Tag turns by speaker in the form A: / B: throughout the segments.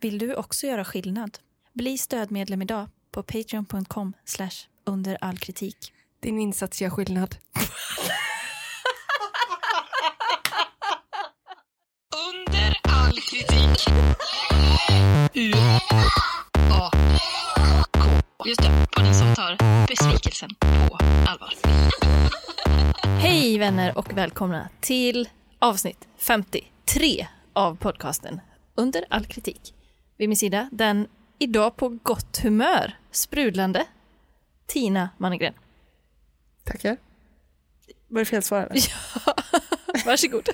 A: Vill du också göra skillnad? Bli stödmedlem idag på patreon.com under all kritik.
B: Din insats gör skillnad.
C: Under all kritik. U A K. Just det, podden som tar besvikelsen på allvar.
A: Hej vänner och välkomna till avsnitt 53 av podcasten Under all kritik. Vid min sida den idag på gott humör sprudlande Tina Mannegren.
B: Tackar. Var det fel svar eller?
A: Varsågod.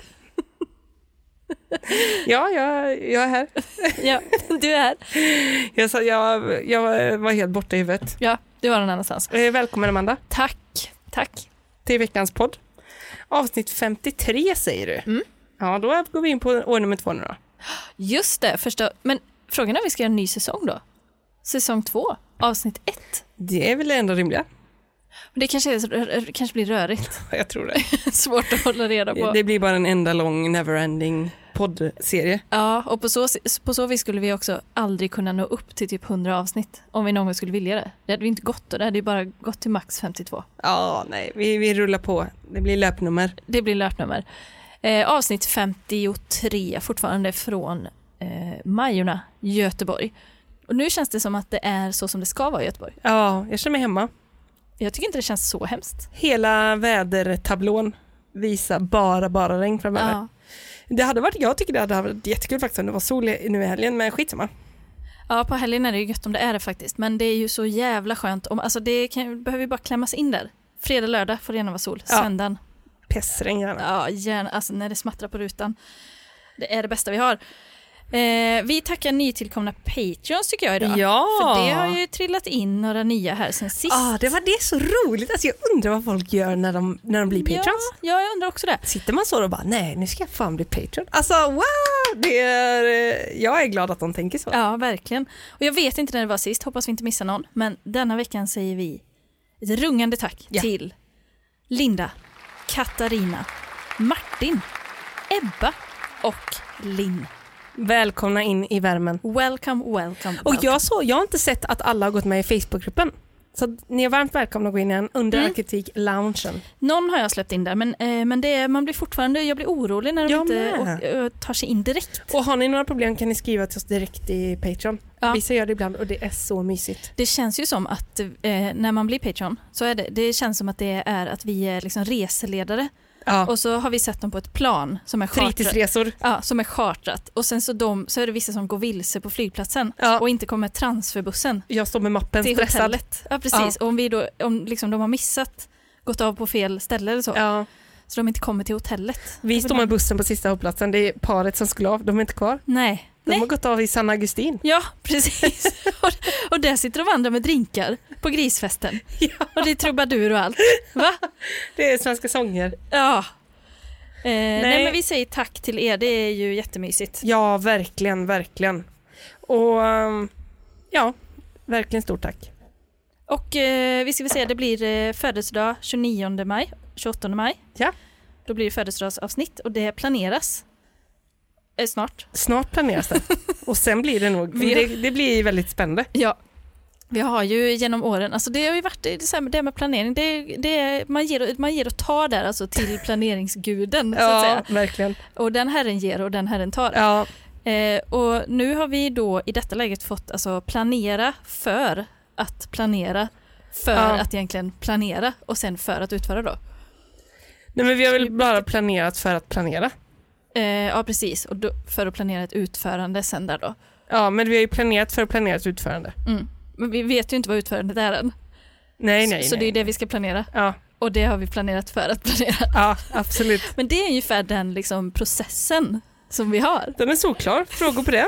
B: Ja, jag, jag är här.
A: ja, du är här.
B: Jag, sa, jag, jag var helt borta i huvudet.
A: Ja, du var någon annanstans.
B: Eh, Välkommen Amanda
A: Tack, tack.
B: till veckans podd. Avsnitt 53 säger du. Ja, då går vi in på år nummer två nu då.
A: Just det, första, men frågan är om vi ska göra en ny säsong då? Säsong två, avsnitt ett.
B: Det är väl det enda rimliga?
A: Men Det kanske, är, kanske blir rörigt,
B: Jag tror det.
A: svårt att hålla reda på.
B: Det blir bara en enda lång neverending poddserie.
A: Ja, och på så, på så vis skulle vi också aldrig kunna nå upp till typ 100 avsnitt om vi någon gång skulle vilja det. Det hade vi inte gått då, det hade ju bara gått till max 52.
B: Ja, nej, vi, vi rullar på. Det blir löpnummer.
A: Det blir löpnummer. Eh, avsnitt 53 fortfarande från eh, Majorna, Göteborg. Och nu känns det som att det är så som det ska vara i Göteborg.
B: Ja, jag känner mig hemma.
A: Jag tycker inte det känns så hemskt.
B: Hela vädertablån visar bara, bara regn framöver.
A: Ja.
B: Det hade varit, jag tycker det hade varit jättekul faktiskt om det var sol i- nu i helgen, men skitsamma.
A: Ja, på helgen är det ju gött om det är det faktiskt. Men det är ju så jävla skönt. Om, alltså det kan, behöver ju bara klämmas in där. Fredag, lördag får det gärna vara sol.
B: Ja.
A: Söndagen,
B: Pessregn gärna.
A: ja gärna, alltså när det smattrar på rutan. Det är det bästa vi har. Eh, vi tackar nytillkomna Patreons tycker jag idag. För det har ju trillat in några nya här sen sist.
B: ah, det var det så roligt. Alltså, jag undrar vad folk gör när de, när de blir patrons.
A: Ja, ja, jag undrar också det.
B: Sitter man så och bara, nej nu ska jag fan bli patron. Alltså wow! Det är, eh, jag är glad att de tänker så.
A: Ja, verkligen. Och jag vet inte när det var sist, hoppas vi inte missar någon. Men denna veckan säger vi ett rungande tack
B: Ja.
A: till Linda, Katarina, Martin, Ebba och Linn.
B: Välkomna in i värmen.
A: Welcome, welcome,
B: Och
A: welcome.
B: jag, så, jag har inte sett att alla har gått med i Facebookgruppen. Så att ni är varmt välkomna att gå in i den under all kritik loungen.
A: Någon har jag släppt in där, men, eh, men det är, man blir fortfarande, jag blir orolig när de
B: Jag
A: inte
B: med.
A: och, ö, tar sig in direkt.
B: Och har ni några problem kan ni skriva till oss direkt i Patreon.
A: Ja.
B: Vissa gör det ibland och det är så mysigt.
A: Det känns ju som att eh, när man blir Patreon så är det, det känns som att det är att vi är liksom reseledare
B: Ja.
A: och så har vi sett dem på ett plan som är chartrat.
B: Fritidsresor.
A: Ja, som är chartrat. Och sen så, de, så är det vissa som går vilse på flygplatsen
B: Ja.
A: och inte kommer transferbussen
B: Jag står med mappen
A: till
B: stressad.
A: hotellet. Ja, precis. Och om, vi då, om liksom de har missat, gått av på fel ställe eller så,
B: Ja.
A: så de inte kommer till hotellet.
B: Vi står med bussen på sista hållplatsen. Det är paret som skulle av. De är inte kvar.
A: Nej.
B: De
A: Nej.
B: har gått av i San Agustin.
A: Ja, precis. och, och där sitter de andra med drinkar på grisfesten. Och det är trubadur och allt. Va?
B: Det är svenska sånger.
A: Ja. Eh, nej.
B: Nej.
A: men vi säger tack till er, det är ju jättemysigt.
B: Ja, verkligen, verkligen. Och ehm, ja, verkligen stort tack.
A: Och eh, vi ska väl säga det blir eh, födelsedag 29 maj, 28 maj.
B: Ja.
A: Då blir det födelsedagsavsnitt och det planeras eh, snart.
B: Snart planeras det. Och sen blir det nog,
A: Vi-
B: det, det blir väldigt spännande.
A: Ja. Vi har ju genom åren, alltså det har ju varit det, här med, det här med planering, det, det, är- man, ger, man ger och tar där alltså till planeringsguden så att säga.
B: verkligen.
A: Och den herren ger och den herren tar.
B: Ja,
A: Eh, och nu har vi då i detta läget fått alltså planera för att planera för
B: Ja.
A: att egentligen planera och sen för att utföra då.
B: Nej, men vi har väl bara planerat för att planera.
A: Eh, ja precis, och då, för att planera ett utförande sen där då.
B: Ja, men vi har ju planerat för att planera ett utförande.
A: Men vi vet ju inte vad utförandet är än.
B: Nej, nej,
A: så så det är
B: nej.
A: ju det vi ska planera.
B: Ja,
A: Och det har vi planerat för att planera.
B: ja, absolut.
A: Men det är ungefär den liksom, processen som vi har.
B: Den är solklar. Frågor på det?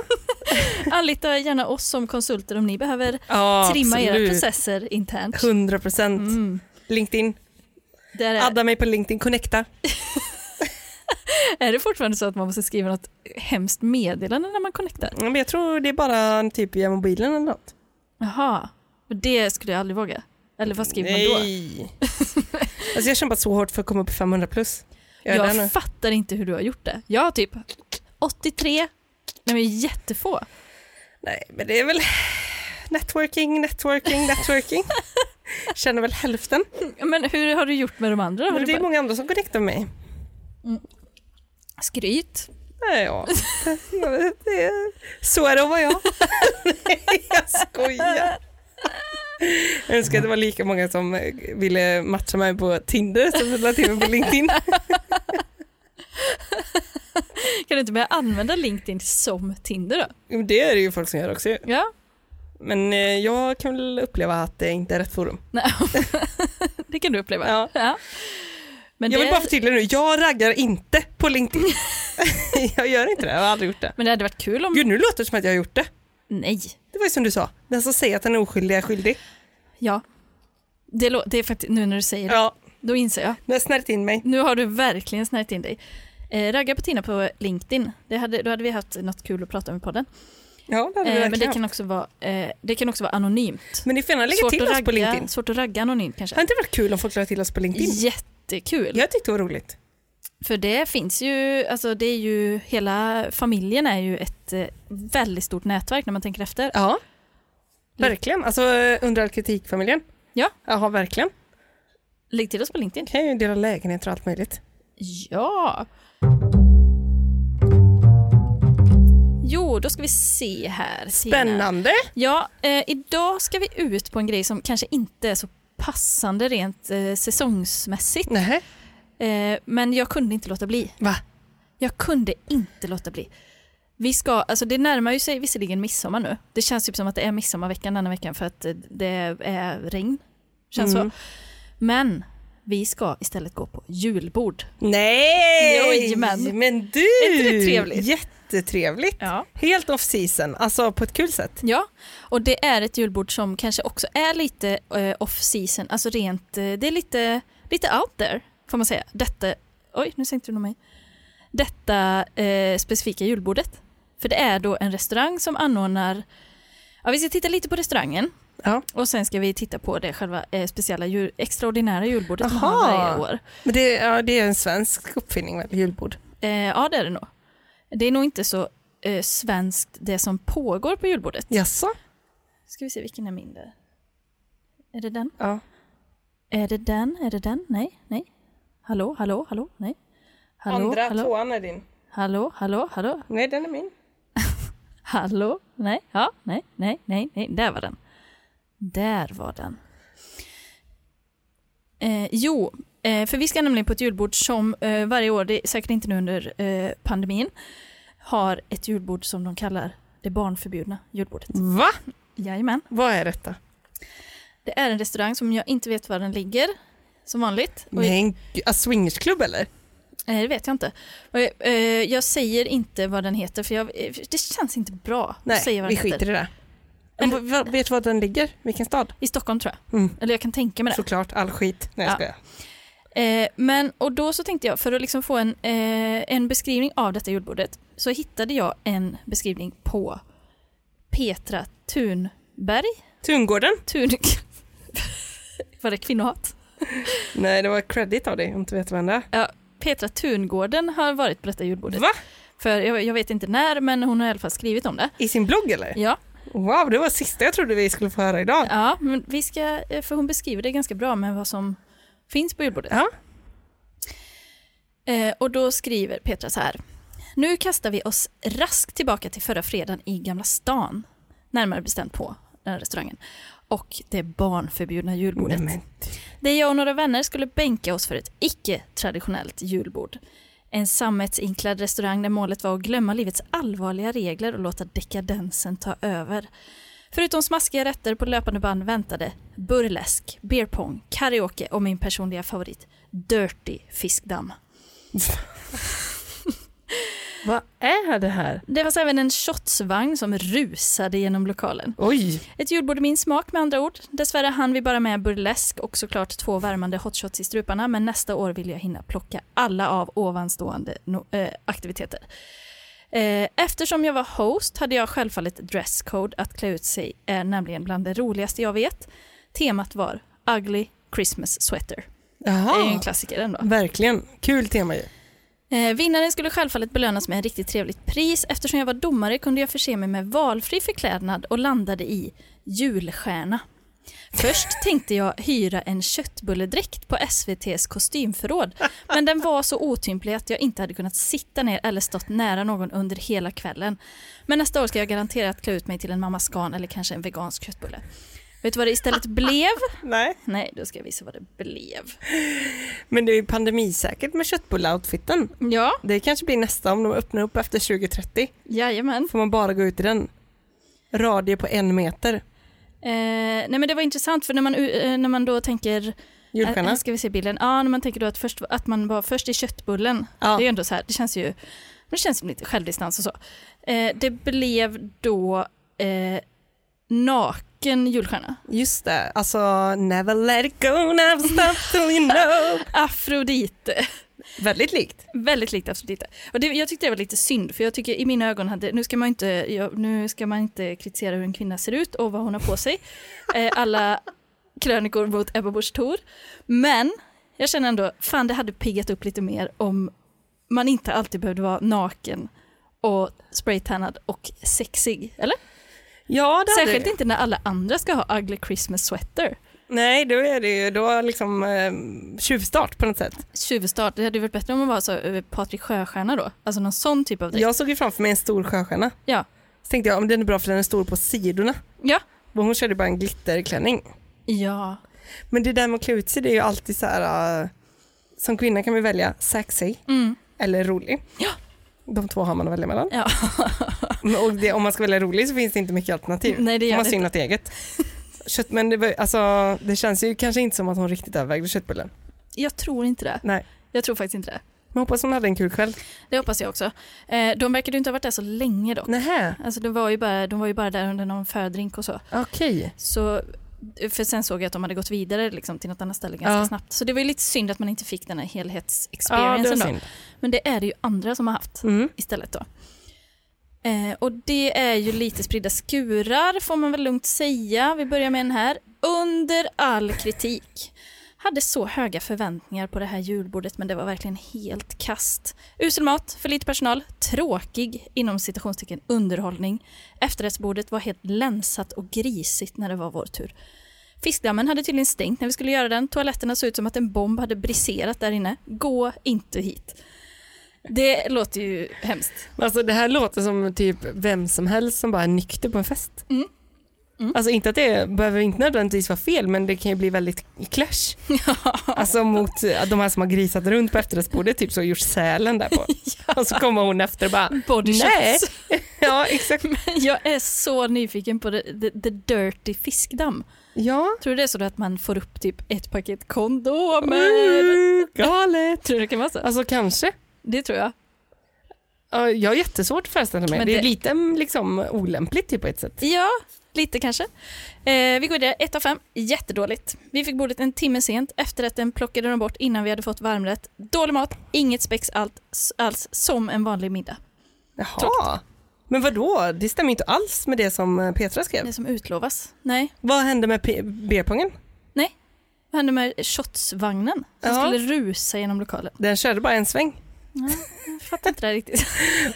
A: Anlita gärna oss som konsulter om ni behöver
B: Ja,
A: trimma era
B: absolut.
A: processer internt.
B: 100 procent.
A: Mm.
B: LinkedIn.
A: Där är,
B: Adda mig på LinkedIn. Connecta.
A: är det fortfarande så att man måste skriva något hemskt meddelande när man connectar?
B: Ja, Men jag tror det är bara typ via mobilen eller något.
A: Jaha, Och det skulle jag aldrig våga. Eller vad skriver man då?
B: alltså jag har kämpat så hårt för att komma upp i 500 plus. Jag är där
A: Jag
B: nu.
A: fattar inte hur du har gjort det. Jag har typ 83, nej men jättefå.
B: Nej, men det är väl networking, networking, networking. Känner väl hälften.
A: Men hur har du gjort med de andra? Har
B: Men
A: du
B: det är
A: bara...
B: många andra som connectar med mig.
A: Skryt.
B: Nej, ja. Jag vet, det är... Så är det att vara jag. Nej, jag skojar. Jag önskar att det var lika många som ville matcha mig på Tinder som ville till mig på LinkedIn.
A: Kan du inte börja använda LinkedIn som Tinder då?
B: Jo, Det är det ju folk som gör också ju.
A: Ja.
B: Men eh, jag kan väl uppleva att det inte är rätt forum.
A: Nej. det kan du uppleva.
B: Ja.
A: Men,
B: jag
A: det...
B: vill bara förtydliga nu, jag raggar inte på LinkedIn. jag gör inte det, jag har aldrig gjort det.
A: Men det hade varit kul om...
B: Gud, nu låter det som att jag har gjort det.
A: Nej.
B: Det var ju som du sa, den som säger att den är oskyldig är skyldig.
A: Ja. Det, lå- det är faktiskt, nu när du säger det,
B: Ja,
A: då inser jag.
B: nu har jag snärjt in mig.
A: Nu har du verkligen snärjt in dig. Eh, ragga på Tina på LinkedIn. Det hade, då hade vi haft något kul att prata om i podden.
B: Ja, det hade vi
A: Eh, men
B: verkligen
A: det
B: haft.
A: kan, också vara, eh, det kan också vara anonymt.
B: Men ni får gärna lägga till
A: att
B: oss
A: ragga,
B: på LinkedIn.
A: svårt att ragga anonymt kanske.
B: Har inte det varit kul om folk la till oss på LinkedIn?
A: Jättekul.
B: Jag tyckte det var roligt.
A: För det finns ju, alltså det är ju, hela familjen är ju ett eh, väldigt stort nätverk när man tänker efter.
B: Ja. Verkligen. Alltså eh, under all kritikfamiljen.
A: Ja.
B: Jaha, verkligen.
A: Lägg till oss på LinkedIn.
B: Kan ju dela lägenheter och allt möjligt.
A: Ja! Jo, då ska vi se här. Tina.
B: Spännande.
A: Ja, eh, idag ska vi ut på en grej som kanske inte är så passande rent eh, säsongsmässigt.
B: Nej.
A: Eh, men jag kunde inte låta bli.
B: Va?
A: Jag kunde inte låta bli. Vi ska, alltså det närmar ju sig visserligen midsommar nu. Det känns typ som att det är midsommarveckan denna veckan för att eh, det är regn. Känns
B: Mm.
A: så. Men vi ska istället gå på julbord.
B: Nej!
A: Jojamän.
B: Men du!
A: Är inte det trevligt?
B: Jättetrevligt.
A: Ja.
B: Helt off season, alltså på ett kul sätt.
A: Ja, och det är ett julbord som kanske också är lite eh, off season, alltså rent, eh, det är lite, lite out there får man säga. Detta, oj nu sänkte du nog mig. Detta eh, specifika julbordet. För det är då en restaurang som anordnar, ja vi ska titta lite på restaurangen
B: Ja.
A: och sen ska vi titta på det själva eh, speciella, jul, extraordinära julbordet som
B: Aha.
A: man har varje år.
B: Men det, ja, det är en svensk uppfinning väl, julbord?
A: Eh, ja det är det nog. Det är nog inte så eh, svenskt det som pågår på julbordet.
B: Jaså?
A: Ska vi se vilken är min där? Är det den?
B: Ja.
A: Är det den? Är det den? Nej, nej. Hallå, hallå, hallå, nej. Hallå, hallå,
B: tvåan är din.
A: hallå, hallå, hallå,
B: Nej, den är min.
A: hallå, nej, ja, nej, nej, nej, nej, där var den. Där var den. Eh, jo, eh, för vi ska nämligen på ett julbord som eh, varje år, det är säkert inte nu under eh, pandemin, har ett julbord som de kallar det barnförbjudna julbordet.
B: Va?
A: Jajamän.
B: Vad är detta?
A: Det är en restaurang som jag inte vet var den ligger, som vanligt. Och
B: Men gud, ah, swingersklubb eller?
A: Nej, det vet jag inte. Och, eh, jag säger inte vad den heter, för jag, eh, det känns inte bra
B: Nej,
A: att säga vad
B: vi
A: den heter.
B: skiter i det. Men
A: Eller-
B: vad- vet du var den ligger? Vilken stad?
A: I Stockholm tror jag.
B: Mm.
A: Eller jag kan tänka mig det.
B: Såklart, all skit. Nej,
A: Ja.
B: jag skojar.
A: Eh, men, och då så tänkte jag, för att liksom få en, eh, en beskrivning av detta julbordet, så hittade jag en beskrivning på Petra Thunberg.
B: Tungården?
A: Thun... var det kvinnohat?
B: Nej, det var credit av dig om du inte vet vem det är.
A: Ja, Petra Tungården har varit på detta julbordet.
B: Va?
A: För jag, jag vet inte när, men hon har i alla fall skrivit om det.
B: I sin blogg eller?
A: Ja,
B: Wow, det var sista jag trodde vi skulle få höra idag.
A: Ja, men vi ska, eh, för hon beskriver det ganska bra med vad som finns på julbordet.
B: Ja.
A: Eh, och då skriver Petra så här. Nu kastar vi oss raskt tillbaka till förra fredagen i Gamla stan, närmare bestämt på den här restaurangen, och det barnförbjudna julbordet.
B: Nej, men,
A: Där jag och några vänner skulle bänka oss för ett icke-traditionellt julbord. En sammetsinklad restaurang där målet var att glömma livets allvarliga regler och låta dekadensen ta över. Förutom smaskiga rätter på löpande band väntade burlesk, beer pong, karaoke och min personliga favorit, dirty fiskdamm.
B: vad är det här?
A: Det fanns även en shotsvagn som rusade genom lokalen.
B: Oj,
A: Ett julbord i min smak med andra ord. Dessvärre hann vi bara med burlesk och såklart två värmande hotshots i struparna men nästa år vill jag hinna plocka alla av ovanstående no- eh, aktiviteter. Eh, Eftersom jag var host hade jag självfallet dresscode. Att klä ut sig är nämligen bland det roligaste jag vet. Temat var ugly Christmas sweater. Det är ju
B: jaha.
A: en klassiker ändå.
B: Verkligen, kul tema ju.
A: Eh, vinnaren skulle självfallet belönas med ett riktigt trevligt pris. Eftersom jag var domare kunde jag förse mig med valfri förklädnad och landade i julstjärna. Först tänkte jag hyra en köttbulledräkt på SVTs kostymförråd, men den var så otymplig att jag inte hade kunnat sitta ner eller stått nära någon under hela kvällen. Men nästa år ska jag garanterat klä ut mig till en Mamma Scan eller kanske en vegansk köttbulle. Vet du vad det istället blev?
B: Nej.
A: Nej, då ska jag visa vad det blev.
B: Men det är ju pandemisäkert med köttbulleoutfiten.
A: Ja,
B: Det kanske blir nästa om de öppnar upp efter 2030.
A: jajamän.
B: Får man bara gå ut i den. Radie på en meter.
A: Eh, nej men det var intressant för när man, eh, när man då tänker,
B: Julstjärna.
A: Äh, ska vi se bilden, ja när man tänker då att, först, att man var först i köttbullen,
B: Ja.
A: det är ju ändå så här, det känns ju, det känns som lite självdistans och så. Eh, det blev då eh, naken julstjärna,
B: Just det, alltså never let it go, never stop till you know.
A: Afrodite,
B: Väldigt likt.
A: väldigt likt Afrodite. Och det, jag tyckte det var lite synd för jag tycker i mina ögon hade, nu ska man inte, jag, nu ska man inte kritisera hur en kvinna ser ut och vad hon har på sig, eh, alla krönikor mot Ebba Busch Thor. Men jag känner ändå, fan det hade piggat upp lite mer om man inte alltid behövde vara naken och spraytannad och sexig, eller?
B: Ja, det
A: Särskilt
B: hade
A: inte när alla andra ska ha ugly Christmas sweater.
B: Nej, då är det ju då liksom eh, tjuvstart på något sätt.
A: Tjuvstart, det hade ju varit bättre om man var så eh, Patrik Sjöstjärna då, alltså någon sån typ av dräkt.
B: Jag såg ju framför mig en stor sjöstjärna.
A: Ja.
B: Så tänkte jag, men den är bra för den är stor på sidorna.
A: Ja.
B: Men hon körde bara en glitterklänning.
A: Ja.
B: Men det där med att klä ut sig, det är ju alltid så här, eh, som kvinna kan vi välja sexy
A: Mm.
B: eller rolig.
A: Ja.
B: De två har man att välja mellan.
A: Ja.
B: Men- Och det, om man ska välja rolig så finns det inte mycket alternativ.
A: Nej, det
B: Får
A: gör
B: man
A: det
B: syna något eget. Kött, men det, var- alltså, det känns ju kanske inte som att hon riktigt övervägde köttbullen.
A: Jag tror inte det.
B: Nej.
A: Jag tror faktiskt inte det.
B: Men hoppas hon hade en kul kväll.
A: Det hoppas jag också. Eh, de verkade ju inte ha varit där så länge dock.
B: Nähä,
A: Alltså det var ju bara, de var ju bara där under någon fördrink och så.
B: okej.
A: så. För sen såg jag att de hade gått vidare liksom, till något annat ställe ganska
B: Ja.
A: snabbt. Så det var ju lite synd att man inte fick den här
B: Ja, det var
A: helhetsexperiencen då.
B: synd.
A: Men det är det ju andra som har haft
B: Mm.
A: istället då. Eh, och det är ju lite spridda skurar får man väl lugnt säga. Vi börjar med den här. Under all kritik. Hade så höga förväntningar på det här julbordet men det var verkligen helt kast. Usel mat, för lite personal, tråkig inom citationstecken underhållning. Efterrättsbordet var helt länsat och grisigt när det var vår tur. Fiskdammen hade tydligen stängt när vi skulle göra den. Toaletterna såg ut som att en bomb hade briserat där inne. Gå inte hit. Det låter ju hemskt.
B: Alltså det här låter som typ vem som helst som bara är nykter på en fest.
A: Mm. Mm.
B: Alltså inte att det behöver inte nödvändigtvis vara fel men det kan ju bli väldigt i clash. Alltså mot eh, de här som har grisat runt på efterrättsbordet typ så och gjort sälen där på. Och så kommer hon efter och bara
A: Body
B: Nej.
A: shots.
B: ja exakt.
A: Jag är så nyfiken på the, the, the dirty fiskdamm.
B: Ja.
A: Tror du det är så att man får upp typ ett paket kondomer?
B: Mm, galet.
A: Tror du det kan vara så?
B: Alltså kanske.
A: Det tror jag.
B: Ja, Jag har jättesvårt att föreställa mig.
A: Men
B: det... är
A: det-
B: lite mm, liksom, olämpligt typ, på ett sätt.
A: Ja, lite kanske. Eh, vi går vidare, ett av fem. Jättedåligt. Vi fick bordet en timme sent. Efterrätten plockade de bort innan vi hade fått varmrätt. Dålig mat, inget spex allt, alls, som en vanlig middag.
B: Jaha.
A: Tråkigt.
B: Men vadå? Det stämmer ju inte alls med det som eh, Petra skrev.
A: Det som utlovas. Nej.
B: Vad hände med pe- beerpongen?
A: Vad hände med shotsvagnen? Den
B: Ja.
A: skulle rusa genom lokalen.
B: Den körde bara en sväng.
A: Jag fattar inte det här riktigt.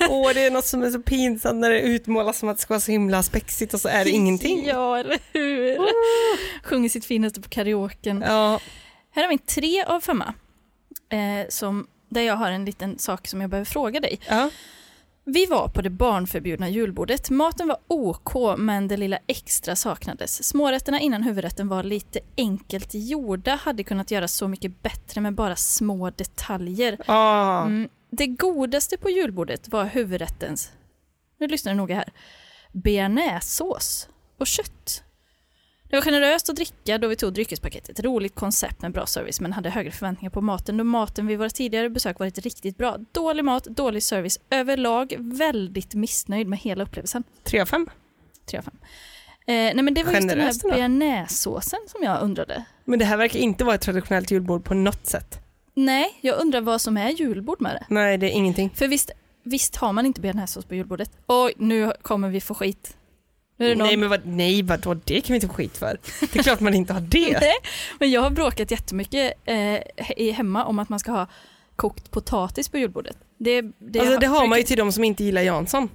B: Åh, det är något som är så pinsamt när det utmålas som att det ska vara så himla spexigt och så är det ingenting.
A: Ja, eller hur? Sjunger sitt finaste på karaoken.
B: Ja,
A: Här har vi en tre av femma. Eh, som, där jag har en liten sak som jag behöver fråga dig.
B: ja.
A: Vi var på det barnförbjudna julbordet. Maten var OK, men det lilla extra saknades. Smårätterna innan huvudrätten var lite enkelt gjorda. Hade kunnat göras så mycket bättre med bara små detaljer.
B: ja.
A: Mm. Det godaste på julbordet var huvudrättens, nu lyssnar du noga här, bearnaisesås och kött. Det var generöst att dricka då vi tog dryckespaketet. Roligt koncept med bra service men hade högre förväntningar på maten då maten vid våra tidigare besök varit riktigt bra. Dålig mat, dålig service, överlag väldigt missnöjd med hela upplevelsen.
B: Tre av fem.
A: Tre av fem. Eh, nej men det var just den
B: Generöst
A: här
B: ändå.
A: bearnaisesåsen som jag undrade.
B: Men det här verkar inte vara ett traditionellt julbord på något sätt.
A: Nej, jag undrar vad som är julbord med det.
B: Nej, det är ingenting.
A: För visst, visst har man inte bearnaisesås på julbordet? Oj, nu kommer vi få skit. Nu är det någon...
B: Nej, men vad, nej, vadå? Det kan vi inte få skit för. Det är klart man inte har det.
A: Nej, men jag har bråkat jättemycket eh, he- hemma om att man ska ha kokt potatis på julbordet. Det, det,
B: Alltså det har man ju
A: brukar-
B: till de som inte gillar Jansson.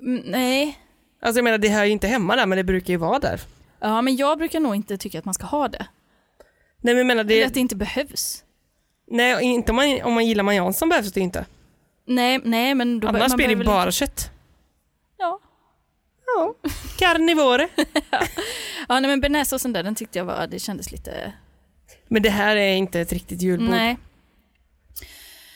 A: Mm, Nej,
B: Alltså jag menar det hör ju inte hemma där men det brukar ju vara där.
A: ja, men jag brukar nog inte tycka att man ska ha det.
B: Nej men jag menar
A: Eller
B: det,
A: att det inte behövs.
B: nej inte om man, om man gillar man Jansson behövs det ju inte.
A: Nej, nej men då
B: Annars
A: man
B: blir det
A: behöver-
B: bara kött.
A: Ja.
B: Ja, carnivore.
A: ja, nej men bearnaisesåsen där, den tyckte jag var, det kändes lite...
B: Men det här är inte ett riktigt julbord.
A: Nej.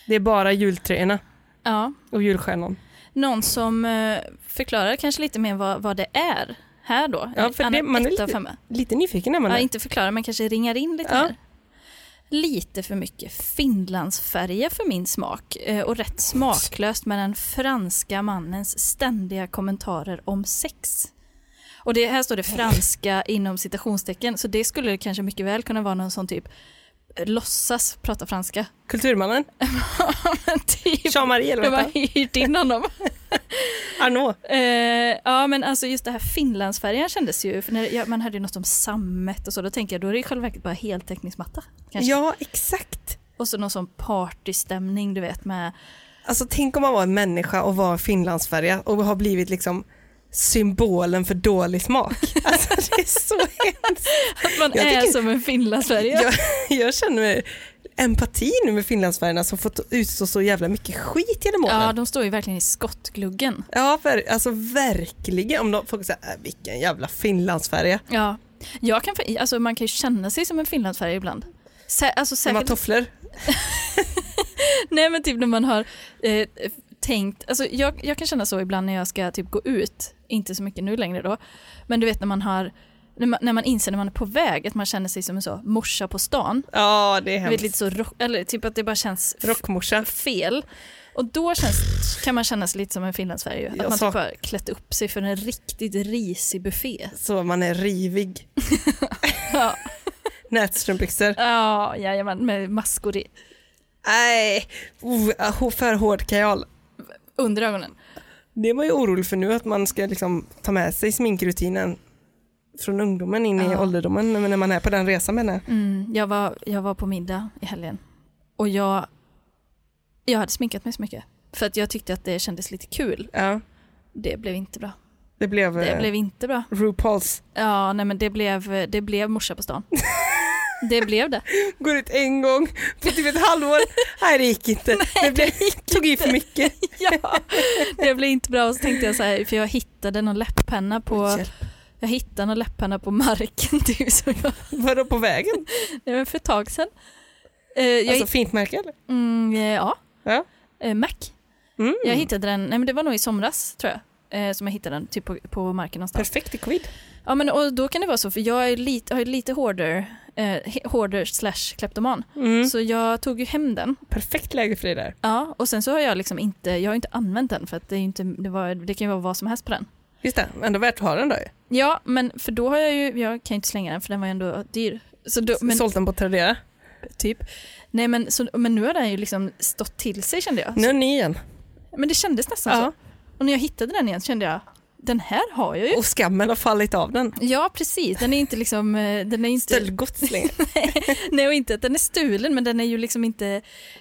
B: Det är bara julträna
A: Ja.
B: och julstjärnan.
A: Någon som eh, förklarar kanske lite mer vad, vad det är här då.
B: Ja, för
A: En
B: det-
A: annan
B: man är
A: etta
B: lite-
A: femma.
B: Lite nyfiken är man
A: Ja,
B: där.
A: inte förklara men kanske ringar in lite
B: Ja.
A: här. Lite för mycket Finlandsfärja för min smak eh, och rätt smaklöst med den franska mannens ständiga kommentarer om sex. Och det, här står det franska inom citationstecken så det skulle kanske mycket väl kunna vara någon sån typ eh, låtsas prata franska.
B: Kulturmannen,
A: Men typ,
B: Jean-Marie eller
A: de
B: vad
A: har hyrt in honom.
B: Arnaud.
A: Eh, ja men alltså just det här finlandsfärjan kändes ju, för när ja, man hörde ju något om sammet och så, då tänker jag då är det i själva verket bara heltäckningsmatta. Kanske.
B: Ja, exakt.
A: Och så någon sån partystämning du vet med,
B: Alltså tänk om man var en människa och var finlandsfärja och har blivit liksom symbolen för dålig smak. Alltså det är så hemskt.
A: att man
B: Jag
A: är
B: tycker-
A: som en finlandsfärja.
B: Jag, jag känner mig empati nu med finlandsfärjorna som fått utstå så jävla mycket skit genom åren.
A: Ja de står ju verkligen i skottgluggen.
B: Ja, ver- alltså verkligen. Om de, folk säger, äh, vilken jävla finlandsfärja.
A: Ja. Jag kan, för- alltså man kan ju känna sig som en finlandsfärja ibland. Sä, alltså
B: De har
A: säkert,
B: tofflor.
A: nej men typ när man har eh, tänkt, alltså jag, jag kan känna så ibland när jag ska typ gå ut, inte så mycket nu längre då, men du vet när man har när man, när man inser när man är på väg att man känner sig som en så morsa på stan.
B: Ja, det är
A: Du
B: hemskt.
A: vet, lite så rock, eller typ att det bara känns
B: Rockmorsa.
A: fel. Och då känns, kan man känna sig lite som en finlandssverige. ju. Att
B: Jag
A: man
B: sa-
A: typ har klätt upp sig för en riktigt risig buffé.
B: Så man är rivig.
A: Ja,
B: Nätstrumpbyxor.
A: ja jajamän, med maskor i,
B: Nej, oh, ah, för hård kajal.
A: under ögonen.
B: Det är man ju orolig för nu, att man ska liksom ta med sig sminkrutinen från ungdomen in i
A: Ja.
B: ålderdomen när när man är på den resan menar jag.
A: Mm, jag, var, jag var på middag i helgen och jag, jag hade sminkat mig så mycket. För att jag tyckte att det kändes lite kul.
B: Ja,
A: Det blev inte bra.
B: det blev,
A: Det
B: eh,
A: blev inte bra.
B: RuPaul's.
A: Ja, nej men det blev, det blev morsa på stan. Det blev det.
B: Går ut en gång på typ ett halvår. Nej, det gick inte. det blev, tog i för mycket.
A: Ja, det blev inte bra. Och så tänkte jag så här, för jag hittade någon läpppenna på...
B: Hjälp.
A: Jag hittade någon läpparna på marken typ, som jag,
B: Vadå på vägen?
A: det var för ett tag sedan. Eh, jag
B: Alltså fint märke eller?
A: hitt- mm, eh, ja,
B: Ja.
A: eh, Mac.
B: Mm.
A: Jag hittade den, nej men det var nog i somras tror jag, eh, som jag hittade den typ på, på marken någonstans.
B: Perfekt i covid.
A: Ja men och då kan det vara så, för jag är lite, har ju lite hårdare, eh, hårdare slash kleptoman.
B: Mm.
A: Så jag tog ju hem den.
B: Perfekt läge för dig där.
A: Ja, och sen så har jag liksom inte, jag har inte använt den för att det, är ju inte, det, var, det kan ju vara vad som helst på den.
B: Just det, ändå värt att ha den då. ju.
A: Ja, men för då har jag ju, jag kan ju inte slänga den för den var ju ändå dyr. Så då, men,
B: Sålt den på Tradera.
A: Typ. Nej men, så, men nu har den ju liksom stått till sig kände jag.
B: Nu är ni igen.
A: Men det kändes nästan
B: Ja.
A: så. Och när jag hittade den igen så kände jag, den här har jag ju.
B: Och skammen har fallit av den.
A: Ja precis, den är inte liksom, eh, den är inte,
B: Stöldgods länge.
A: nej och inte att den är stulen men den är ju liksom inte,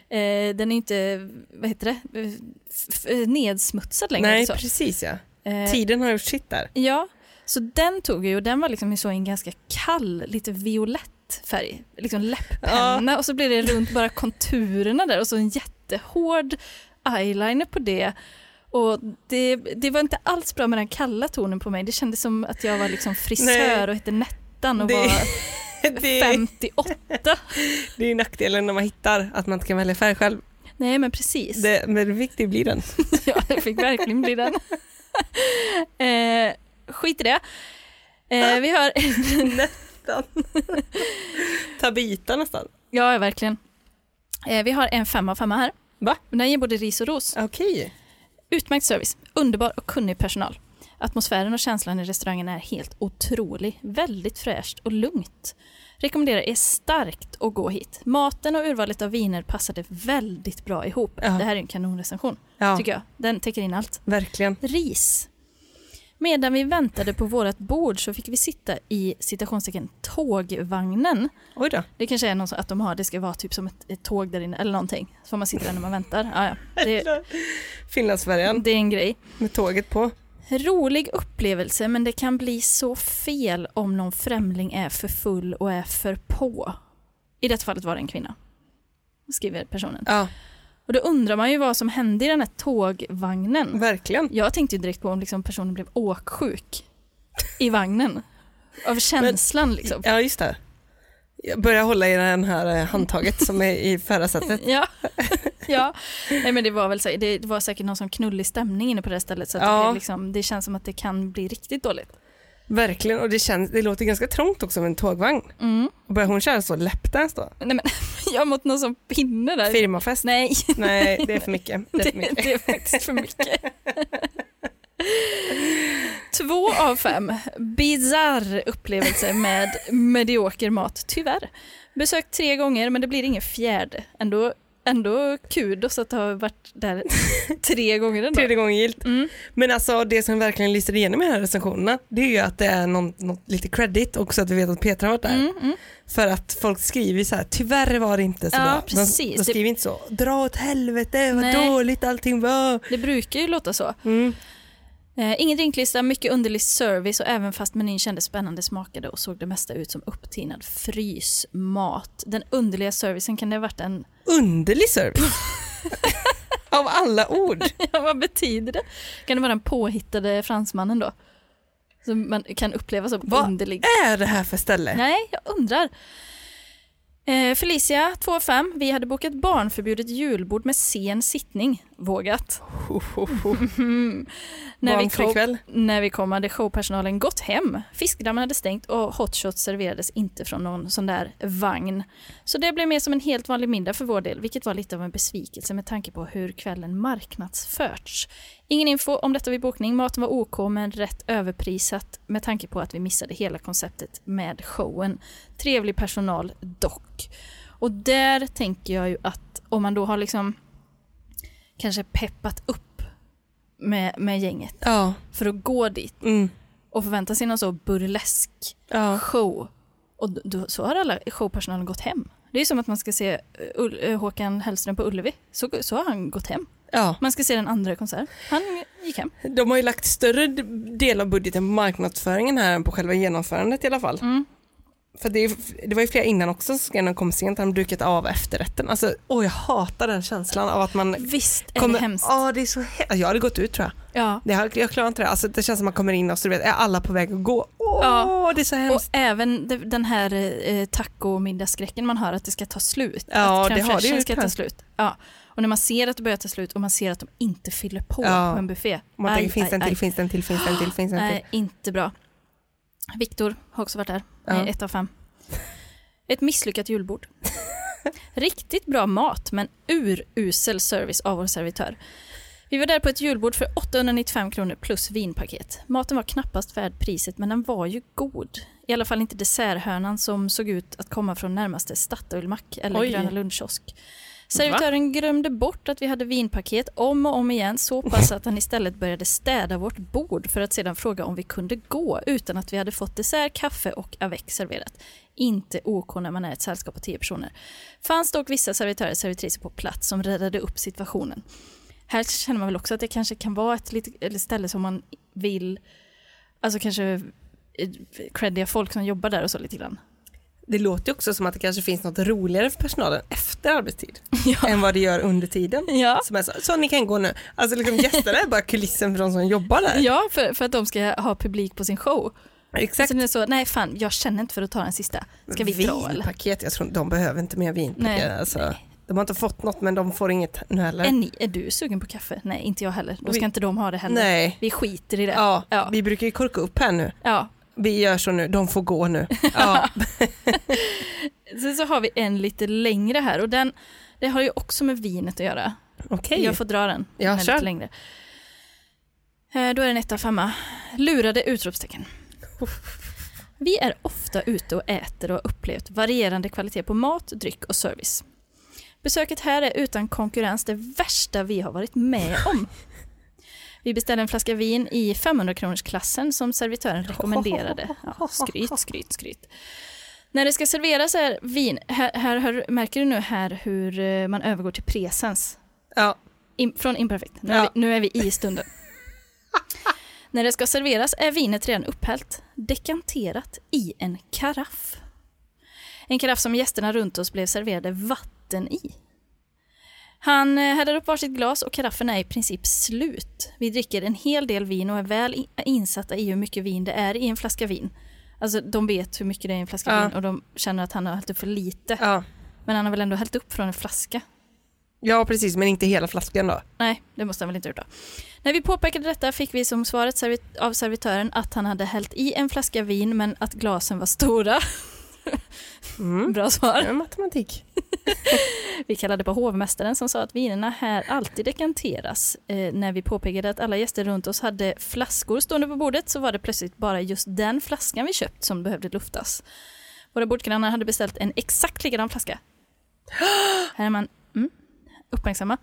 A: eh, den är inte, vad heter det, Eh, f- f- nedsmutsad längre.
B: Nej,
A: eller så.
B: precis ja.
A: alltså. Eh,
B: Tiden har gjort sitt där.
A: Ja, så den tog jag ju och den var liksom så en ganska kall, lite violett färg, liksom läpppenna och så blir det runt bara konturerna där och så en jättehård eyeliner på det. Och det, det var inte alls bra med den kalla tonen på mig. Det kändes som att jag var liksom frisör
B: Nej.
A: och hette Nettan och
B: Det-
A: var
B: Det är,
A: 58.
B: det är nackdelen när man hittar att man inte kan välja färg själv.
A: Nej men precis.
B: Det, men viktig blir den.
A: Ja, det fick verkligen bli den. eh, skit i det. Eh, vi har
B: Tabita nästan.
A: Ja, verkligen. Eh, vi har en femma av femma här.
B: Va?
A: Den ger både ris och ros.
B: Okej.
A: Utmärkt service, underbar och kunnig personal. Atmosfären och känslan i restaurangen är helt otrolig. Väldigt fräscht och lugnt. Rekommenderar er starkt att gå hit. Maten och urvalet av viner passade väldigt bra ihop.
B: Ja.
A: Det här är en kanonrecension,
B: Ja,
A: tycker jag. Den täcker in allt.
B: verkligen.
A: Ris. Medan vi väntade på vårt bord så fick vi sitta i citationstecken tågvagnen.
B: Oj då.
A: Det kanske är något att de har, det ska vara typ som ett, ett tåg där inne eller någonting. Så får man sitta där när man väntar. Ja, ja. Det,
B: Finlandsfärjan
A: det är en grej.
B: med tåget på.
A: Rolig upplevelse men det kan bli så fel om någon främling är för full och är för på. I detta fallet var det en kvinna, skriver personen.
B: Ja,
A: Och då undrar man ju vad som hände i den här tågvagnen.
B: verkligen.
A: Jag tänkte ju direkt på om liksom personen blev åksjuk i vagnen. Av känslan liksom.
B: Ja, just det. Jag börjar hålla i den här eh, handtaget som är i förarsätet.
A: Ja, ja. Nej, men det var väl så, det var säkert någon som knullig stämning inne på det här stället så att
B: Ja.
A: det, liksom, det känns som att det kan bli riktigt dåligt.
B: Verkligen, och det, känns, det låter ganska trångt också med en tågvagn.
A: Mm.
B: Och börjar hon köra så lapdance då?
A: Nej, men, jag har mått någon som pinne där.
B: Firmafest?
A: Nej,
B: Nej, det är för mycket. Det är för mycket.
A: det är faktiskt för mycket. Två av fem. Bizarr upplevelse med medioker mat, tyvärr. Besökt tre gånger, men det blir ingen fjärde. Ändå, ändå kudos att ha varit där tre gånger ändå.
B: Tredje gången gillt.
A: Mm.
B: Men alltså det som verkligen lyser igenom i de här recensionerna det är ju att det är någon, något lite credit också att vi vet att Petra har varit där.
A: Mm, mm.
B: För att folk skriver så här, tyvärr var det inte så
A: Ja,
B: bra.
A: precis.
B: De, de skriver inte så, dra åt helvete vad
A: Nej.
B: dåligt allting var.
A: Det brukar ju låta så.
B: Mm.
A: Eh, ingen drinklista, mycket underlig service och även fast menyn kändes spännande smakade och såg det mesta ut som upptinad frysmat. Den underliga servicen kan det ha varit en...
B: Underlig service. Av alla ord.
A: Ja, vad betyder det? Kan det vara den påhittade fransmannen då? Som man kan uppleva som
B: Vad
A: underlig.
B: är det här för ställe?
A: Nej, jag undrar. Eh, Felicia, 2 av 5. Vi hade bokat barnförbjudet julbord med sen sittning. Vågat.
B: Ho, ho, ho.
A: När vi,
B: Barnfri
A: kom,
B: kväll.
A: när vi kom hade showpersonalen gått hem. Fiskdammen hade stängt och hotshots serverades inte från någon sån där vagn. Så det blev mer som en helt vanlig middag för vår del, vilket var lite av en besvikelse med tanke på hur kvällen marknadsförts. Ingen info om detta vid bokning, maten var OK men rätt överprisat med tanke på att vi missade hela konceptet med showen. Trevlig personal dock. Och där tänker jag ju att om man då har liksom kanske peppat upp med, med gänget
B: Ja.
A: för att gå dit
B: Mm.
A: och förvänta sig någon så burlesk
B: ja.
A: show. Och d- då, så har alla showpersonalen gått hem. Det är som att man ska se eh, Ull- eh, Håkan Hellström på Ullevi. Så, så har han gått hem.
B: Ja.
A: Man ska se den andra konsert. Han gick hem.
B: De har ju lagt större del av budgeten på marknadsföringen här än på själva genomförandet i alla fall.
A: Mm.
B: För det, är, det var ju flera innan också som när de kom sent hade de dukat av efterrätten. Alltså, åh, jag hatar den känslan av att man
A: Visst är
B: kommer...
A: det hemskt.
B: Ja, det är så he- Jag hade gått ut tror jag.
A: Ja.
B: Det har, jag klarar inte det. Alltså, det känns som man kommer in och så du vet, är alla på väg att gå. Åh,
A: Ja.
B: det är så
A: Och
B: hemskt.
A: även de- den här eh, tacomiddagsskräcken man har att det ska ta slut.
B: Ja,
A: att
B: det
A: crème
B: har det
A: fraîchen
B: ju
A: ska
B: tyvärr.
A: ta slut. Ja. Och när man ser att det börjar ta slut och man ser att de inte fyller på
B: Ja.
A: på en buffé.
B: Och man
A: Aj,
B: tänker, finns
A: aj,
B: det en
A: aj.
B: till, finns det en till, finns det en till, finns det en till.
A: Nej, Eh, inte bra. Viktor har också varit där.
B: Ja.
A: Nej, ett av fem. Ett misslyckat julbord. Riktigt bra mat, men urusel service av vår servitör. Vi var där på ett julbord för 895 kronor plus vinpaket. Maten var knappast värd priset, men den var ju god. I alla fall inte desserthörnan som såg ut att komma från närmaste Statoilmack eller
B: Oj.
A: Gröna Lundkiosk. Servitören glömde bort att vi hade vinpaket om och om igen så pass att han istället började städa vårt bord för att sedan fråga om vi kunde gå utan att vi hade fått dessert, kaffe och avec serverat. Inte OK när man är ett sällskap på tio personer. Fanns dock vissa servitörer och servitriser på plats som räddade upp situationen. Här känner man väl också att det kanske kan vara ett litet eller ställe som man vill, alltså kanske eh, creddiga folk som jobbar där och så lite grann.
B: Det låter ju också som att det kanske finns något roligare för personalen efter arbetstid
A: Ja.
B: än vad det gör under tiden.
A: Ja.
B: Som är så, så ni kan gå nu. Alltså liksom gästerna är bara kulissen för de som jobbar där.
A: Ja, för, för att de ska ha publik på sin show.
B: Exakt.
A: Så den är Alltså, så, nej fan, jag känner inte för att ta den sista. Alltså, Ska vi dra eller?
B: Vinpaket, jag tror de behöver inte mer vinpaket.
A: Nej.
B: Alltså, de har inte fått något men de får inget nu heller.
A: Är, ni, är du sugen på kaffe? Nej, inte jag heller. Då ska
B: Vi-
A: inte de ha det heller.
B: Nej.
A: Vi skiter i det.
B: Ja,
A: Ja.
B: vi brukar ju korka upp här nu.
A: Ja.
B: Vi gör så nu, de får gå nu. Ja,
A: Sen så har vi en lite längre här och den, det har ju också med vinet att göra.
B: okej.
A: Jag får dra den.
B: Ja,
A: men
B: kör.
A: lite längre. Eh, Då är det en etta och femma. Lurade utropstecken. Vi är ofta ute och äter och har upplevt varierande kvalitet på mat, dryck och service. Besöket här är utan konkurrens det värsta vi har varit med om. Vi beställde en flaska vin i 500-kronorsklassen som servitören rekommenderade. Ja, skryt, skryt, skryt. När det ska serveras är vin, här, här, hör- märker du nu här hur eh, man övergår till presens?
B: Ja.
A: Im- från imperfekt. Nu, är
B: Ja.
A: vi, nu är vi i stunden. När det ska serveras är vinet redan upphällt, dekanterat i en karaff. En karaff som gästerna runt oss blev serverade vatten i. Han eh, häller upp varsitt glas och karaffen är i princip slut. Vi dricker en hel del vin och är väl i- insatta i hur mycket vin det är i en flaska vin. Alltså de vet hur mycket det är i en flaska
B: Ja.
A: vin och de känner att han har hällt upp för lite.
B: Ja.
A: Men han har väl ändå hällt upp från en flaska.
B: ja, precis, men inte hela flaskan då.
A: Nej, det måste han väl inte ha gjort då. När vi påpekade detta fick vi som svaret servi- av servitören att han hade hällt i en flaska vin men att glasen var stora.
B: Mm.
A: Bra svar.
B: Det är matematik.
A: Vi kallade på hovmästaren som sa att vinerna här alltid dekanteras. Eh, när vi påpekade att alla gäster runt oss hade flaskor stående på bordet så var det plötsligt bara just den flaskan vi köpt som behövde luftas. Våra bordgrannar hade beställt en exakt likadan flaska. här är man mm, uppmärksamma.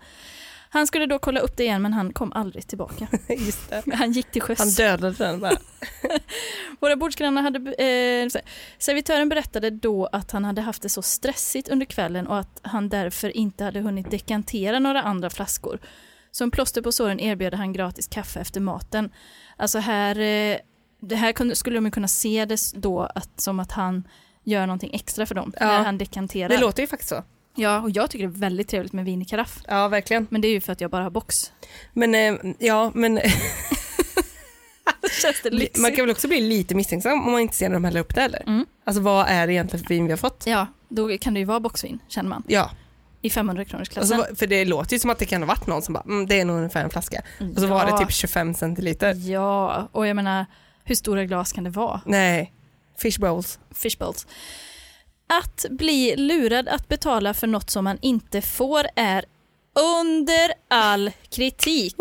A: Han skulle då kolla upp det igen men han kom aldrig tillbaka.
B: Just det.
A: Han gick till sjöss.
B: Han dödade den bara.
A: Våra bordsgrannar hade... Eh, så här. servitören berättade då att han hade haft det så stressigt under kvällen och att han därför inte hade hunnit dekantera några andra flaskor. Som plåster på såren erbjöd han gratis kaffe efter maten. Alltså här, eh, det här kunde, skulle de ju kunna se det s- då att, som att han gör någonting extra för dem
B: Ja.
A: när han dekanterar.
B: Det låter ju faktiskt så.
A: Ja, och jag tycker det är väldigt trevligt med vin i karaff.
B: Ja, verkligen.
A: Men det är ju för att jag bara har box.
B: Men eh, ja, men
A: Då känns det lyxigt.
B: man kan väl också bli lite misstänksam om man inte ser när de häller upp det heller.
A: Mm.
B: Alltså vad är det egentligen för vin vi har fått?
A: Ja, då kan det ju vara boxvin, känner man.
B: Ja,
A: I 500-kronorsklassen.
B: alltså, vad- för det låter ju som att det kan ha varit någon som bara, mm, det är nog ungefär en flaska. Och så var det
A: Ja.
B: typ 25 centiliter.
A: Ja, och jag menar, hur stora glas kan det vara?
B: Nej, fish bowls.
A: Fishbowls. Att bli lurad att betala för något som man inte får är under all kritik.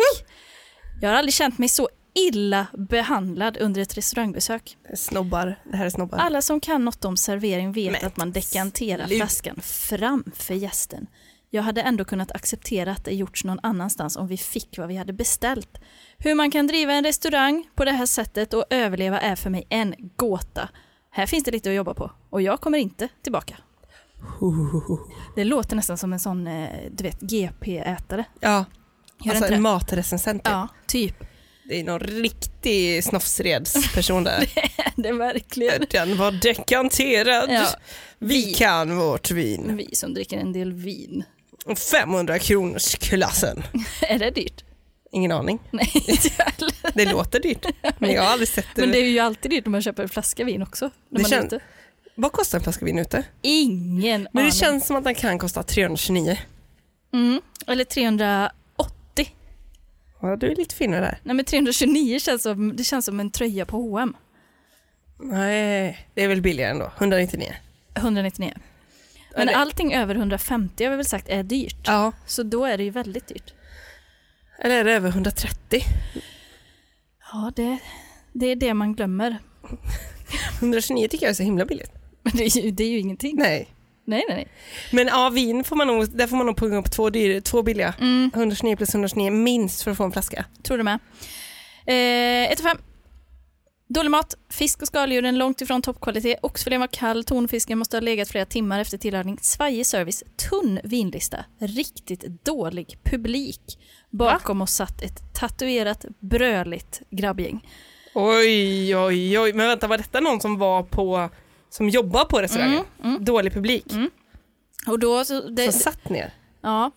A: Jag har aldrig känt mig så illa behandlad under ett restaurangbesök.
B: Snobbar, det här är snobbar.
A: Alla som kan något om servering vet
B: Men
A: att man dekanterar
B: slut.
A: flaskan framför gästen. Jag hade ändå kunnat acceptera att det gjorts någon annanstans om vi fick vad vi hade beställt. Hur man kan driva en restaurang på det här sättet och överleva är för mig en gåta. Här finns det lite att jobba på och jag kommer inte tillbaka. Det låter nästan som en sån, eh, du vet, GP-ätare.
B: Ja,
A: Gör det
B: alltså
A: inte
B: en
A: det?
B: matrecensent. typ.
A: Ja, typ.
B: Det är någon riktig snofsredsperson där.
A: Det är verkligen
B: Den var dekanterad.
A: Ja.
B: Vi kan vårt vin.
A: vi som dricker en del vin.
B: 500 kronors klassen.
A: Är det dyrt?
B: Ingen aning.
A: Nej, inte jag heller.
B: Det låter dyrt, men jag har aldrig sett det.
A: Men det är ju alltid dyrt när man köper en flaska vin också. När
B: Det
A: man
B: kän-
A: är ute.
B: Vad kostar en flaska vin ute?
A: Ingen
B: Men
A: aning.
B: det känns som att den kan kosta 329.
A: mm. Eller 380.
B: Ja, du är lite finare där.
A: Nej men 329 känns som, det känns som en tröja på H&M.
B: Nej, det är väl billigare ändå. 199.
A: 199. Men
B: Eller-
A: allting över 150 har vi väl sagt är dyrt.
B: Ja.
A: Så då är det ju väldigt dyrt.
B: Eller är det över 130?
A: Ja, det, det är det man glömmer.
B: 129 tycker jag är så himla billigt.
A: Men det är ju, det är ju ingenting.
B: Nej.
A: Nej, nej, nej.
B: Men ja, vin får man nog, där får man nog punga upp två, dyr, två billiga.
A: Mm,
B: 129 plus 129 minst för att få en flaska.
A: tror du med. Eh, 1 5. Dålig mat, fisk och skaldjuren långt ifrån toppkvalitet, oxfilén var kall, tonfisken måste ha legat flera timmar efter tillagning, svajig service, tunn vinlista, riktigt dålig publik. Bakom oss satt ett tatuerat, bröligt grabbgäng.
B: Oj, oj, oj. Men vänta, var detta någon som var på, som jobbar på restaurangen? Dålig publik.
A: Mm, Och då, så det,
B: Som satt ner.
A: ja.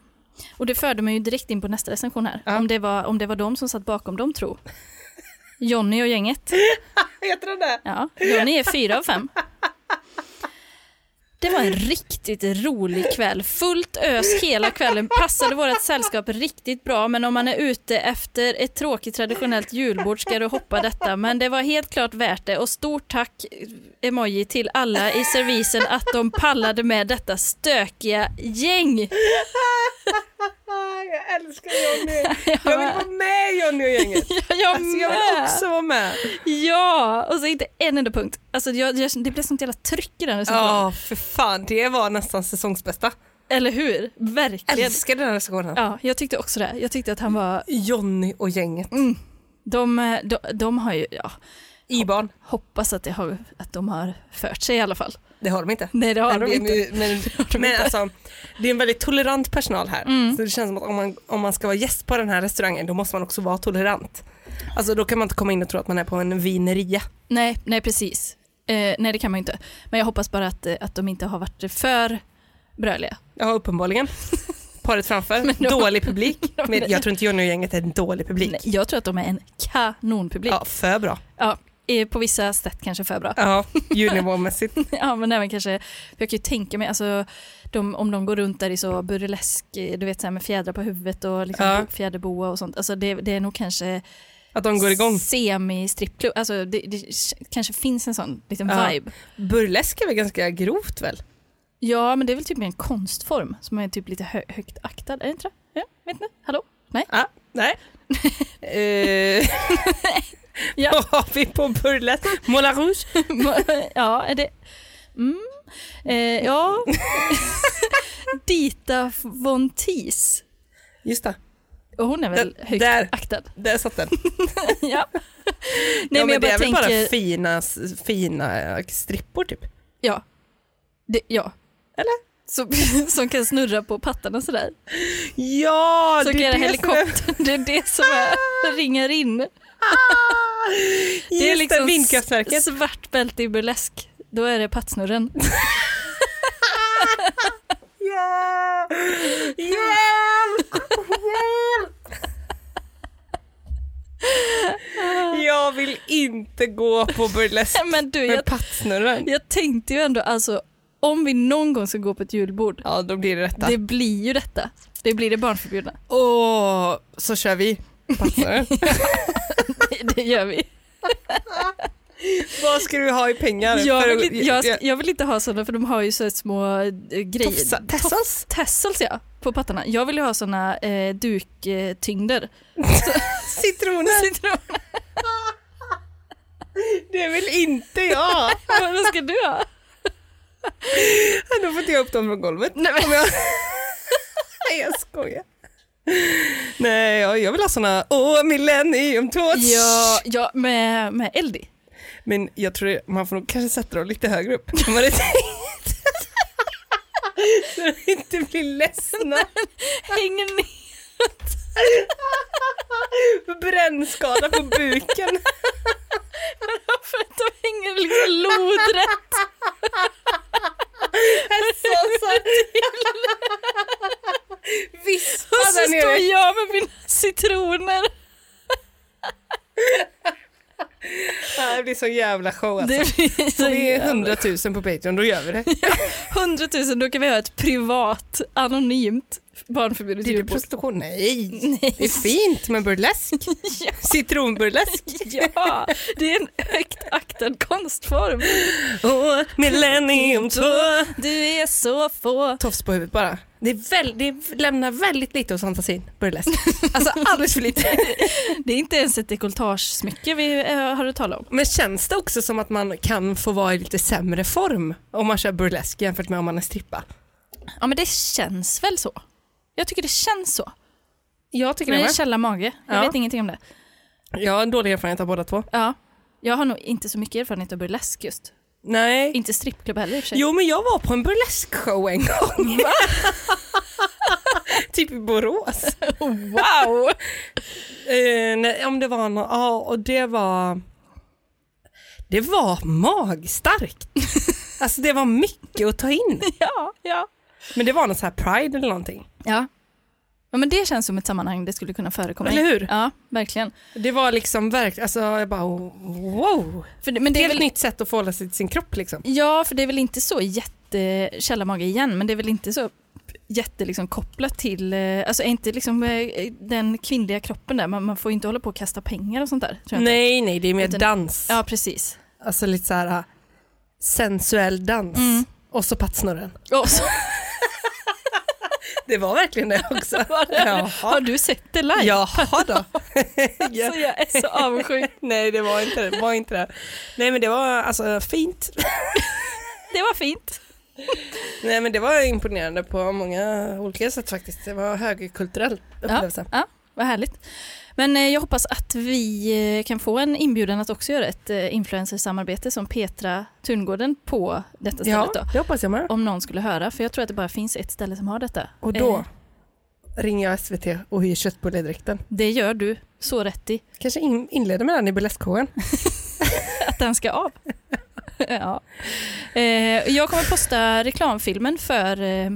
A: Och det förde mig ju direkt in på nästa recension här,
B: Ja.
A: om, det var, om det var de som satt bakom dem tro. Jonny och gänget.
B: Heter den det?
A: Ja, Johnny är fyra av fem. Det var en riktigt rolig kväll. Fullt ös hela kvällen. Passade vårt sällskap riktigt bra, men om man är ute efter ett tråkigt traditionellt julbord ska du hoppa detta. Men det var helt klart värt det och stort tack, eh, emoji, till alla i servisen att de pallade med detta stökiga gäng.
B: Ah, Jag älskar Johnny. Jag vill vara med Johnny och gänget.
A: Ja, jag
B: Alltså, jag vill
A: med!
B: också vara med.
A: Ja, och så inte en enda punkt. Alltså, jag, jag, det blev sånt jävla tryck i den recensionen.
B: Ja, för fan. Det var nästan säsongsbästa.
A: Eller hur? Verkligen.
B: Älskar den här recensionen.
A: Ja, jag tyckte också det. Jag tyckte att han var...
B: Jonny och gänget.
A: De, eh, de, de har ju... Ja,
B: I-barn.
A: hoppas att, det har, att de har fört sig i alla fall.
B: Det har de inte.
A: Nej, det har
B: men,
A: de
B: det-
A: inte. Mm.
B: Men,
A: de
B: men, alltså, det är en väldigt tolerant personal här. Så det känns som att om man, om man ska vara gäst på den här restaurangen då måste man också vara tolerant. Alltså då kan man inte komma in och tro att man är på en vineria.
A: Nej, nej precis. Eh, nej, det kan man ju inte. Men jag hoppas bara att, eh, att de inte har varit för bröliga.
B: Ja, uppenbarligen. Paret framför,
A: då-
B: dålig publik. Men jag tror inte Johnny och gänget är en dålig publik.
A: Nej, jag tror att de är en kanonpublik.
B: Ja, för bra.
A: Ja, eh, på vissa sätt kanske för bra.
B: Ja, ljudnivåmässigt.
A: Ja, men även kanske, för jag kan ju tänka mig, alltså, de, om de går runt där i så burlesk, eh, du vet så här med fjädrar på huvudet och liksom
B: Ja.
A: fjäderboa och sånt, alltså det, det är nog kanske
B: Att de går igång.
A: semi-strippklubb, alltså det, det kanske finns en sån liten
B: Ja.
A: vibe.
B: Burlesk är väl ganska grovt väl?
A: Ja, men det är väl typ mer en konstform som är typ lite hö- högt aktad, är det inte det? Ja, vet inte, hallå?
B: Ja, nej. Eh,
A: Ja.
B: Vad har vi på burlesk? Moulin Rouge?
A: ja, är det... Mm. Eh, ja. Dita von Teese.
B: Just det,
A: Och hon är väl
B: Där-
A: högt
B: där.
A: aktad?
B: där satt den.
A: ja. Nej,
B: ja,
A: men jag
B: det
A: bara
B: är väl
A: tänker...
B: bara fina, fina eh, strippor typ.
A: Ja. Det, ja. Eller? Som, som kan snurra på pattarna sådär.
B: Ja,
A: Så kan
B: är
A: göra
B: som är-
A: helikopter. Det är det som är, ringar in.
B: Ah! Just
A: Det är liksom
B: vindkraftverket.
A: s- svart bälte i burlesk. Då är det pattsnurren.
B: Ja! Hjälp! Hjälp! Jag vill inte gå på burlesk
A: Men du, jag,
B: med pattsnurran.
A: jag tänkte ju ändå alltså om vi någon gång ska gå på ett julbord.
B: Ja, då blir det detta.
A: Det blir ju detta. Det blir det barnförbjudna.
B: Åh, så kör vi pattsnurran.
A: Det- Det gör vi.
B: Vad ska du ha i pengar?
A: Jag
B: för att-
A: vill, inte- jag, jag vill inte ha sådana för de har ju så här små eh, grejer.
B: Tofsa-
A: Tof-
B: Tessels?
A: Tassels ja, på pattarna. Jag vill ju ha såna eh, duktyngder.
B: Citroner? Det vill inte jag.
A: Vad ska du ha?
B: Då får inte jag upp dem från golvet.
A: Nej, men,
B: Om jag... Nej, jag skojar. Nej, jag, jag vill ha såna, åh, millennium torch.
A: ja, ja, med, med eld i.
B: Men jag tror det, man får nog kanske sätta dem lite högre upp. Om man är Så de inte blir ledsna.
A: Hänger ner.
B: Brännskada på buken.
A: För att de hänger liksom lodrätt
B: Så, så. Vispa
A: och så
B: där
A: står
B: nere.
A: jag med mina citroner.
B: Ja, Det blir så jävla show alltså.
A: Det blir så
B: Om vi är
A: jävla-
B: 100 000 på Patreon, då gör vi det.
A: 100 000, då kan vi ha ett privat, anonymt barnförbjudet
B: Blir det
A: julbord.
B: prostitution? Nej.
A: Mm.
B: Det är fint med burlesk. Citronburlesk.
A: Ja, det är en högt aktad konstform.
B: Oh, millennium 2.
A: Du är så få.
B: Tofs på huvudet bara. Det, är väl, det är- lämnar väldigt lite hos fantasin, burlesk. Alltså alldeles för lite.
A: Det är inte ens ett dekoltagesmycke vi eh, har att tala om.
B: Men känns det också som att man kan få vara i lite sämre form om man kör burlesk jämfört med om man är strippa?
A: Ja, men det känns väl så. Jag tycker det känns så.
B: Jag tycker
A: Men
B: det.
A: det är
B: med.
A: källa mage. Jag
B: Ja.
A: vet ingenting om det.
B: Jag har en dålig erfarenhet av båda två.
A: Ja. Jag har nog inte så mycket erfarenhet av burlesk just.
B: Nej.
A: Inte strippklubb heller i och för sig.
B: Jo men jag var på en burleskshow en gång. typ i Borås.
A: Wow!
B: Eh, nej, om det var någon, ja och det var det var magstarkt. alltså det var mycket att ta in.
A: ja, ja.
B: Men det var någon så här pride eller någonting.
A: Ja. Ja, men det känns som ett sammanhang det skulle kunna förekomma i.
B: Eller hur?
A: Ja, verkligen.
B: Det var liksom verkligen, alltså jag bara wow.
A: För det, men
B: Det
A: det
B: är
A: är
B: ett
A: väl,
B: nytt sätt att förhålla sig till sin kropp liksom.
A: ja, för det är väl inte så jätte källarmage igen, men det är väl inte så jätte liksom kopplat till, eh, alltså är inte liksom eh, den kvinnliga kroppen där, man, man får ju inte hålla på och kasta pengar och sånt där. Tror jag inte.
B: Nej nej det är mer
A: Utan-
B: dans.
A: Ja, precis.
B: Alltså lite så här ah, sensuell dans.
A: Mm.
B: Och så pattsnurren.
A: Och så,
B: Det var verkligen det också.
A: har
B: Jaha.
A: du sett det live?
B: Jaha då.
A: Så jag är så avundsjuk.
B: Nej det var inte det. Var inte det. Nej men det var alltså fint.
A: Det var fint.
B: Nej men det var imponerande på många olika sätt faktiskt. Det var högkulturell upplevelse.
A: Ja, ja, vad härligt. Men eh, jag hoppas att vi eh, kan få en inbjudan att också göra ett eh, influencersamarbete som Petra Tungården på detta stället då.
B: det hoppas jag med.
A: Om någon skulle höra, för jag tror att det bara finns ett ställe som har detta.
B: Och då
A: Eh,
B: ringer jag SVT och hyr köttbulledräkten.
A: det gör du så rätt i,
B: Kanske in, inleder med den i burleskshowen.
A: att den ska av. ja. eh, jag kommer posta reklamfilmen för eh,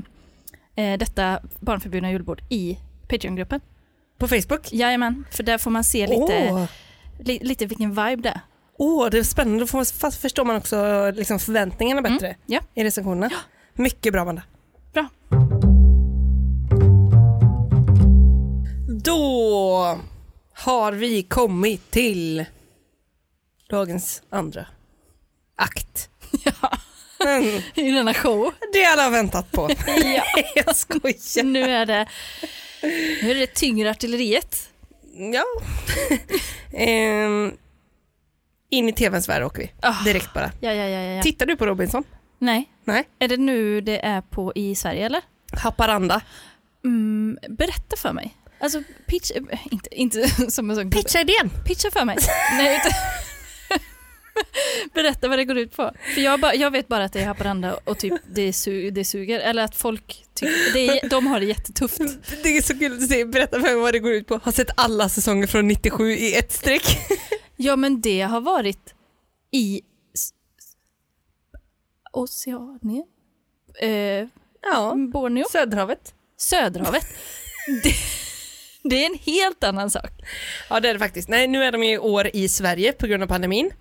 A: eh, detta barnförbjudna julbord i Patreon-gruppen.
B: På Facebook.
A: Jajamän, för där får man se
B: Åh,
A: lite, li, lite vilken vibe det är.
B: Åh, det är spännande. Då får man, fast förstår man också liksom förväntningarna bättre
A: Mm. ja.
B: i recensionerna. Mycket bra Amanda.
A: Bra.
B: Då har vi kommit till dagens andra akt.
A: Ja,
B: Mm,
A: i denna show.
B: det alla har väntat på.
A: Ja.
B: Jag skojar.
A: Nu är det, nu är det tyngre artilleriet.
B: Ja. Ehm, in i tvns värld åker vi.
A: Ah.
B: Direkt bara.
A: Ja, ja, ja, ja. ja.
B: Tittar du på Robinson?
A: Nej,
B: Nej.
A: är det nu det är på i Sverige eller?
B: Haparanda.
A: Mm, berätta för mig. Alltså, pitch, eh, inte, inte som en sån gubbe.
B: idén.
A: Pitcha för mig. Nej, utan, berätta vad det går ut på. För jag, bara, jag vet bara att det är Haparanda och typ det, su, det suger. Eller att folk tycker, det är, de har det jättetufft.
B: Det är så kul att se. Berätta för mig vad det går ut på. Har sett alla säsonger från 97 i ett streck.
A: Ja, men det har varit i s- s- Oceanien, eh,
B: Ja.
A: Borneo,
B: Söderhavet.
A: Söderhavet. det, det är en helt annan sak.
B: Ja det är det faktiskt. Nej nu är de i år i Sverige på grund av pandemin.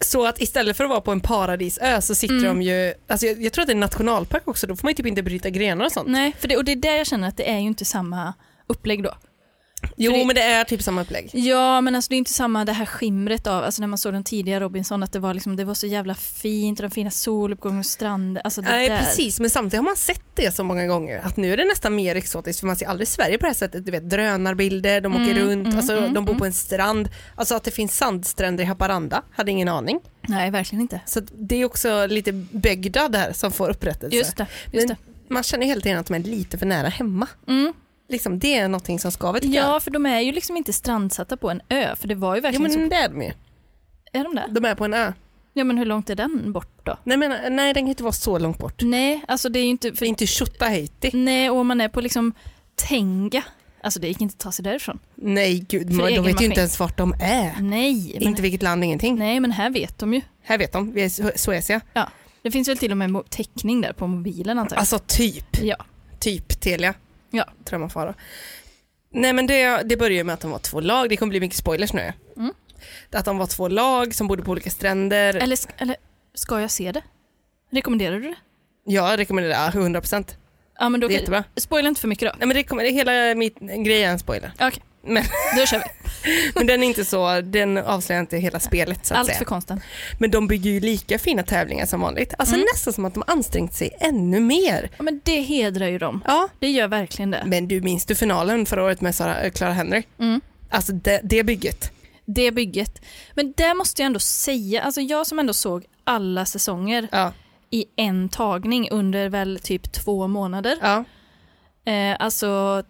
B: Så att istället för att vara på en paradisö så sitter de ju, alltså jag, jag tror att det är en nationalpark också, då får man ju typ inte bryta grenar och sånt.
A: Nej, för det, och det är där jag känner att det är ju inte samma upplägg då.
B: Jo
A: För det-
B: men det är typ samma upplägg.
A: Ja, men alltså det är inte samma det här skimret av, alltså när man såg den tidiga Robinson, att det var, liksom, det var så jävla fint och de fina soluppgången och stranden. Alltså det
B: Nej
A: där.
B: precis, men samtidigt har man sett det så många gånger att nu är det nästan mer exotiskt för man ser aldrig Sverige på det här sättet. Du vet drönarbilder, de
A: Mm,
B: åker runt, alltså, de bor på en strand. Alltså att det finns sandstränder i Haparanda, hade ingen aning.
A: Nej, verkligen inte.
B: Så att det är också lite bygda där som får upprättelse.
A: Just det. Just det.
B: men man känner hela tiden att man är lite för nära hemma.
A: Mm.
B: Liksom, det är någonting som skaver tycker jag.
A: Ja, för de är ju liksom inte strandsatta på en ö, för det var ju
B: Jo
A: verkligen
B: men det är de ju.
A: så. Är de där?
B: De är på en ö.
A: Ja, men hur långt är den bort då?
B: Nej, men, nej den kan inte vara så långt bort.
A: Nej, alltså det är ju inte...
B: Det är
A: För,
B: inte Tjotahejti.
A: nej, och om man är på liksom Tenga, alltså det gick inte att ta sig därifrån.
B: Nej gud,
A: För
B: man, de
A: egen
B: vet ju
A: maskin.
B: inte ens vart de är.
A: Nej, men,
B: Inte vilket land, ingenting.
A: nej, men här vet de ju.
B: Här vet de, vi är i Su- Suecia.
A: Ja, det finns väl till och med mo- täckning där på mobilen antar jag.
B: Alltså typ,
A: ja.
B: typ Telia.
A: Ja.
B: Tror jag man får. då. Nej men det, det börjar ju med att de var två lag, det kommer bli mycket spoilers nu. Att de var två lag som bodde på olika stränder.
A: Mm. Eller, sk- eller ska jag se det? Rekommenderar du det?
B: Jag rekommenderar det, 100 procent.
A: Ja, men då kan...
B: Jättebra.
A: Spoila inte för mycket då.
B: Nej, men det kommer, det hela mitt grej är en spoiler.
A: Okej,
B: Men,
A: då kör vi.
B: men den är inte så, den avslöjar inte hela spelet så att
A: Allt
B: säga.
A: för Mm. konsten.
B: Men de bygger ju lika fina tävlingar som vanligt. Alltså nästan som att de ansträngt sig ännu mer.
A: Ja, men det hedrar ju dem.
B: Ja,
A: Det gör verkligen det.
B: men du minns du finalen förra året med Sara, eh, Clara Henry?
A: Mm.
B: Alltså det, det bygget.
A: Det bygget. Men där måste jag ändå säga, alltså jag som ändå såg alla säsonger
B: Ja,
A: i en tagning under väl typ två månader.
B: ja,
A: Eh, alltså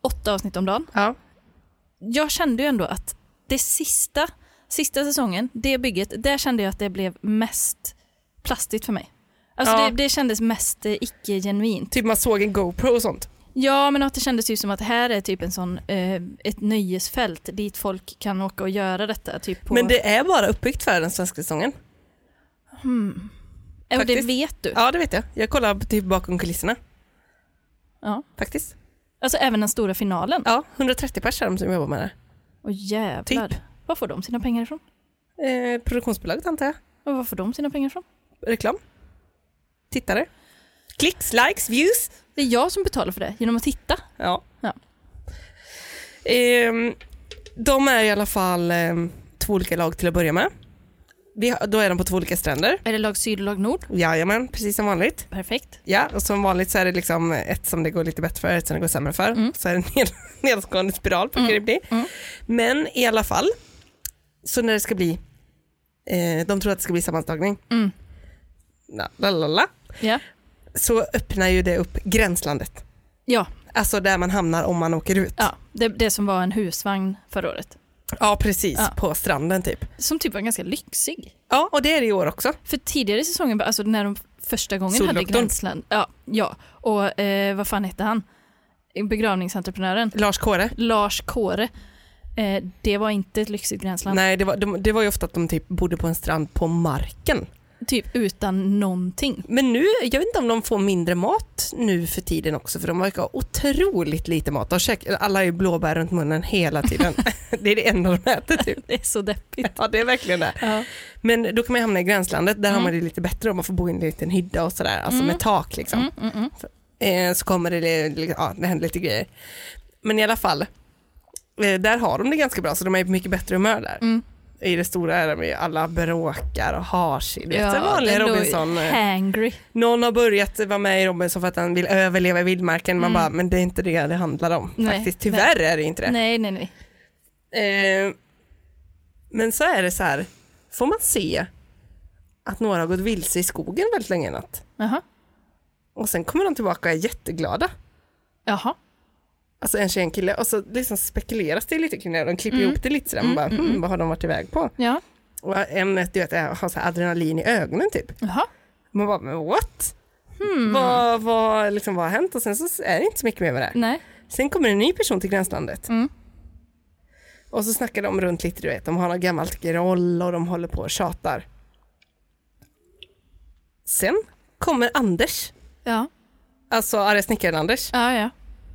A: åtta avsnitt om dagen.
B: ja.
A: Jag kände ju ändå att det sista, sista säsongen, det bygget, där kände jag att det blev mest plastigt för mig. Alltså
B: Ja.
A: det, det kändes mest eh, icke-genuint.
B: Typ man såg en GoPro och sånt.
A: Ja, men att det kändes ju som att här är typ en sån, eh, ett nöjesfält dit folk kan åka och göra detta. Typ på,
B: Men det är bara uppbyggt för den svenska säsongen.
A: Eh, och det
B: faktiskt-
A: vet du. Ja.
B: Ja, det vet jag. Jag kollar typ bakom kulisserna faktiskt.
A: Alltså även den stora finalen.
B: Ja, 130 personer som jobbar med det.
A: Och jävlar.
B: Typ.
A: Var får de sina pengar ifrån?
B: Eh, produktionsbolaget antar jag.
A: Och var får de sina pengar ifrån?
B: Reklam. Tittare. Klicks, likes, views.
A: Det är jag som betalar för det genom att titta.
B: Ja.
A: Ja.
B: Ehm, de är i alla fall ehm, två olika lag till att börja med. Vi, har- då är de på två olika stränder.
A: Är det lag syd och lag nord?
B: Jajamän, precis som vanligt.
A: Perfekt.
B: Ja, och som vanligt så är det liksom ett som det går lite bättre för, ett som det går sämre för.
A: Mm.
B: Så är det en ned- nedåtgående spiral brukar det bli. Men i alla fall, så när det ska bli, eh, de tror att det ska bli sammanslagning.
A: Mm.
B: La, la, la, la.
A: Ja.
B: så öppnar ju det upp gränslandet.
A: Ja,
B: Alltså där man hamnar om man åker ut.
A: ja det, det som var en husvagn förra året.
B: Ja, precis.
A: Ja.
B: På stranden typ.
A: Som typ var ganska lyxig.
B: Ja, och det är det i år också.
A: För tidigare i säsongen, alltså när de första gången hade
B: Soldoktorn.
A: gränsland. Ja, ja. och eh, vad fan hette han? Begravningsentreprenören.
B: Lars Kåre.
A: Lars Kåre. Eh, det var inte ett lyxigt gränsland.
B: Nej, det var, de, det var ju ofta att de typ bodde på en strand på marken.
A: Typ utan någonting.
B: Men nu, jag vet inte om de får mindre mat nu för tiden också, för de verkar ha otroligt lite mat. De käkar, alla har ju blåbär runt munnen hela tiden. det är det enda de äter typ.
A: Det är så deppigt.
B: Ja, det är verkligen det.
A: Ja.
B: Men då kan man ju hamna i gränslandet, där har
A: Mm.
B: man det lite bättre om man får bo i en liten hydda och sådär, alltså
A: Mm.
B: med tak liksom.
A: Mm, mm, mm.
B: Eh, så kommer det, ja, det händer lite grejer. Men i alla fall, eh, där har de det ganska bra, så de är på mycket bättre humör där.
A: Mm.
B: I det stora är de ju alla bråkar och har sig. Du vet,
A: Ja,
B: en vanlig
A: det låg-
B: Robinson. eh,
A: Hangry.
B: Någon har börjat vara med i Robinson för att han vill överleva i vildmarken. Man
A: Mm.
B: bara, men det är inte det det handlar om.
A: Nej,
B: Faktiskt, tyvärr är det inte det.
A: Nej, nej, nej.
B: Eh, men så är det så här, får man se att några har gått vilse i skogen väldigt länge i natt.
A: Jaha.
B: Och sen kommer de tillbaka och är jätteglada.
A: Jaha.
B: Alltså en tjej och en kille. Och så liksom spekuleras det lite kring det. De klipper
A: Mm.
B: ihop det lite sådär. Man bara, hmm, vad har de varit iväg på?
A: Ja.
B: Och ämnet du vet, är- har så här adrenalin i ögonen typ.
A: Jaha.
B: Man bara, men what?
A: Hmm.
B: Vad, vad, liksom, vad har hänt? Och sen så är det inte så mycket mer med det.
A: Nej.
B: Sen kommer en ny person till gränslandet.
A: Mm.
B: Och så snackar de runt lite, du vet. De har något gammalt groll och de håller på och tjatar. Sen kommer Anders.
A: Ja.
B: Alltså arga snickaren Anders.
A: Ja, ja.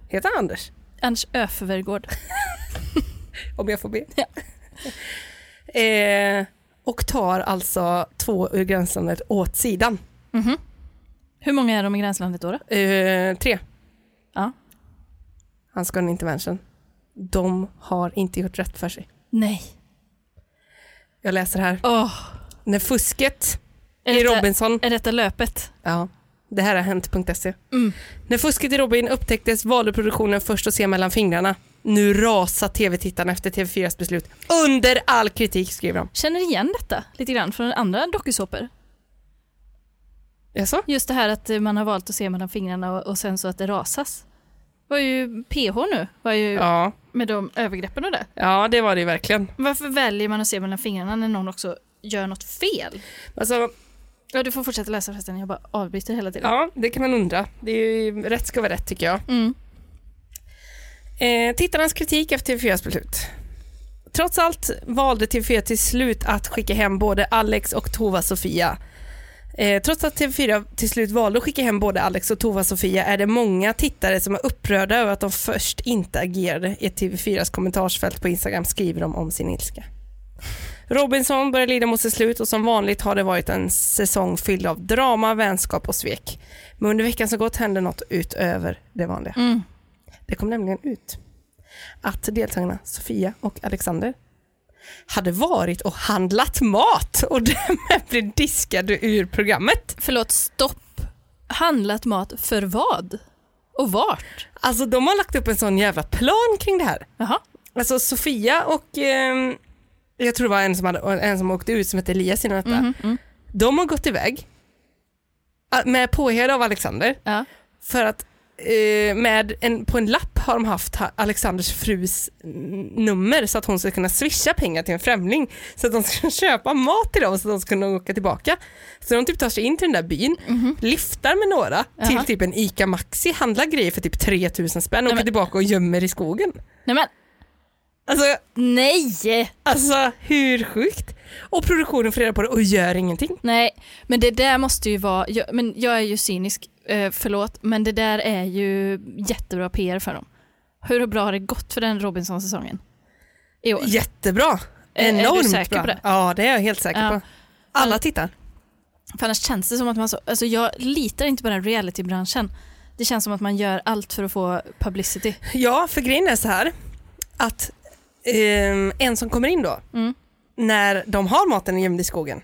B: Heter han Anders?
A: Anders Öfvergård.
B: Om jag får be.
A: Ja.
B: eh, och tar alltså två ur gränslandet åt sidan.
A: Hur många är de i gränslandet då? då?
B: Eh, tre.
A: Ja.
B: Han ska ha en intervention. De har inte gjort rätt för sig.
A: Nej.
B: Jag läser här.
A: Åh.
B: När fusket
A: Är
B: i
A: detta-
B: Robinson
A: Är detta löpet?
B: Ja, det här har hänt.se.
A: Mm.
B: E. När fusket i Robin upptäcktes valde produktionen först att se mellan fingrarna. Nu rasar tv-tittarna efter TV4s beslut. Under all kritik, skriver de.
A: Känner igen detta lite grann från andra dokusåpor.
B: Jaså?
A: Just det här att eh, man har valt att se mellan fingrarna och, och sen så att det rasas. var ju PH nu, var ju
B: Ja,
A: med de övergreppen och det.
B: ja, det var det ju verkligen.
A: Varför väljer man att se mellan fingrarna när någon också gör något fel?
B: Alltså,
A: Ja, du får fortsätta läsa förresten, jag bara avbryter hela tiden.
B: ja, det kan man undra. Det är ju, rätt ska vara rätt, tycker jag.
A: Mm.
B: Eh, tittarnas kritik efter TV4s beslut. Trots allt valde TV4 till slut att skicka hem både Alex och Tova Sofia. Eh, trots att TV4 till slut valde att skicka hem både Alex och Tova Sofia är det många tittare som är upprörda över att de först inte agerade i TV4s kommentarsfält på Instagram skriver de om sin ilska. Robinson börjar lida mot sitt slut och som vanligt har det varit en säsong fylld av drama, vänskap och svek. Men under veckan som gått hände något utöver det vanliga.
A: Mm.
B: Det kom nämligen ut att deltagarna Sofia och Alexander hade varit och handlat mat och därmed blev diskade ur programmet.
A: Förlåt, stopp. Handlat mat för vad? Och vart?
B: Alltså de har lagt upp en sån jävla plan kring det här.
A: Jaha.
B: Alltså Sofia och ehm, jag tror det var en som, hade, en som åkte ut som hette Elias innan detta.
A: Mhm, mm.
B: De har gått iväg ah, med påhed av Alexander
A: Ja.
B: för att eh, med en, på en lapp har de haft ha- Alexanders frus n- nummer så att hon ska kunna swisha pengar till en främling så att de ska kunna köpa mat till dem så att de ska kunna åka tillbaka. Så de typ tar sig in till den där byn,
A: Mhm.
B: lyftar med några
A: Jaha.
B: till typ en ICA Maxi, handlar grejer för typ 3000 spänn och
A: Nej,
B: åker
A: men-
B: tillbaka och gömmer i skogen.
A: Nej men,
B: Alltså,
A: nej!
B: alltså hur sjukt? Och produktionen får reda på det och gör ingenting.
A: Nej, men det där måste ju vara, jag, men jag är ju cynisk, eh, förlåt, men det där är ju jättebra PR för dem. Hur bra har det gått för den Robinson-säsongen? I år?
B: Jättebra!
A: Är- är du
B: Enormt
A: säker
B: bra.
A: på det?
B: Ja, det är jag helt säker
A: Ja.
B: på. Alla
A: Alltså-
B: tittar.
A: För annars känns det som att man, så, alltså jag litar inte på den reality-branschen. Det känns som att man gör allt för att få publicity.
B: Ja, för grejen är så här att ehm, en som kommer in då,
A: Mm.
B: när de har maten gömd i skogen,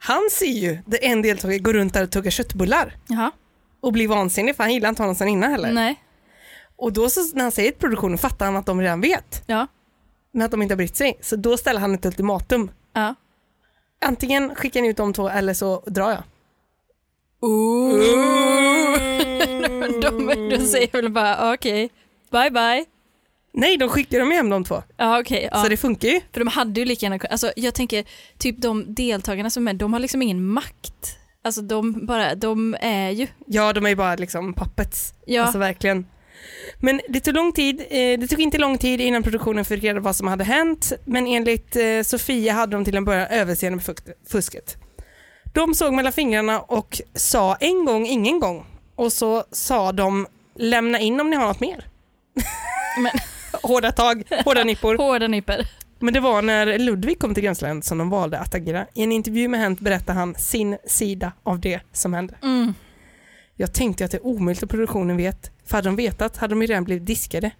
B: han ser ju det en deltagare går runt där och tuggar köttbullar
A: Jaha,
B: och blir vansinnig för han gillar inte honom sen innan heller.
A: nej,
B: Och då så, när han säger till produktionen fattar han att de redan vet,
A: ja,
B: men att de inte har brytt sig. Så då ställer han ett ultimatum.
A: ja.
B: Antingen skickar ni ut de två eller så drar jag.
A: De, de säger väl bara okej, bye bye.
B: Nej, de skickar dem hem de två.
A: Ja okej, ja.
B: Så det funkar ju.
A: för de hade ju lika gärna kun- alltså jag tänker typ de deltagarna som är med, de har liksom ingen makt. Alltså de bara, de är ju,
B: Ja, de är ju bara liksom puppets.
A: ja,
B: Alltså verkligen. Men det tog lång tid, eh, det tog inte lång tid innan produktionen fick reda på vad som hade hänt, men enligt eh, Sofia hade de till en början överseende med fukt- fusket. De såg mellan fingrarna och sa en gång, ingen gång. Och så sa de lämna in om ni har något mer.
A: Men-
B: hårda tag, hårda nippor.
A: hårda nyper.
B: Men det var när Ludvig kom till Gränsland som de valde att agera. I en intervju med Hänt berättar han sin sida av det som hände.
A: Mm.
B: Jag tänkte att det är omöjligt att produktionen vet, för hade de vetat hade de ju redan blivit diskade.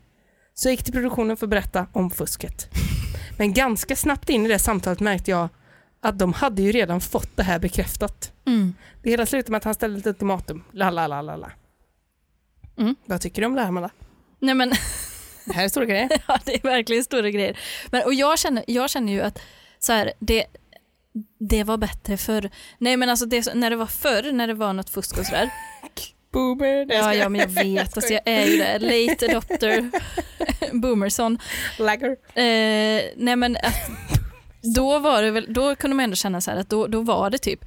B: Så jag gick till produktionen för att berätta om fusket. Men ganska snabbt in i det samtalet märkte jag att de hade ju redan fått det här bekräftat.
A: Mm.
B: Det hela slutade med att han ställde ett ultimatum. La, la, la, la, la.
A: Mm.
B: Vad tycker du om det här, Malla?
A: Nej men
B: Det här är stora grejer.
A: Ja, det är verkligen stora grejer. Men, och jag känner, jag känner ju att så här, det, det var bättre förr. Nej men alltså det, när det var förr, när det var något fusk och sådär.
B: Boomer. Nej, jag
A: Ja,
B: skojar.
A: ja men jag vet, alltså jag är ju det. Late adopter, boomerson.
B: Lagger.
A: Eh, nej men att, då var det väl, då kunde man ändå känna så här att då, då var det typ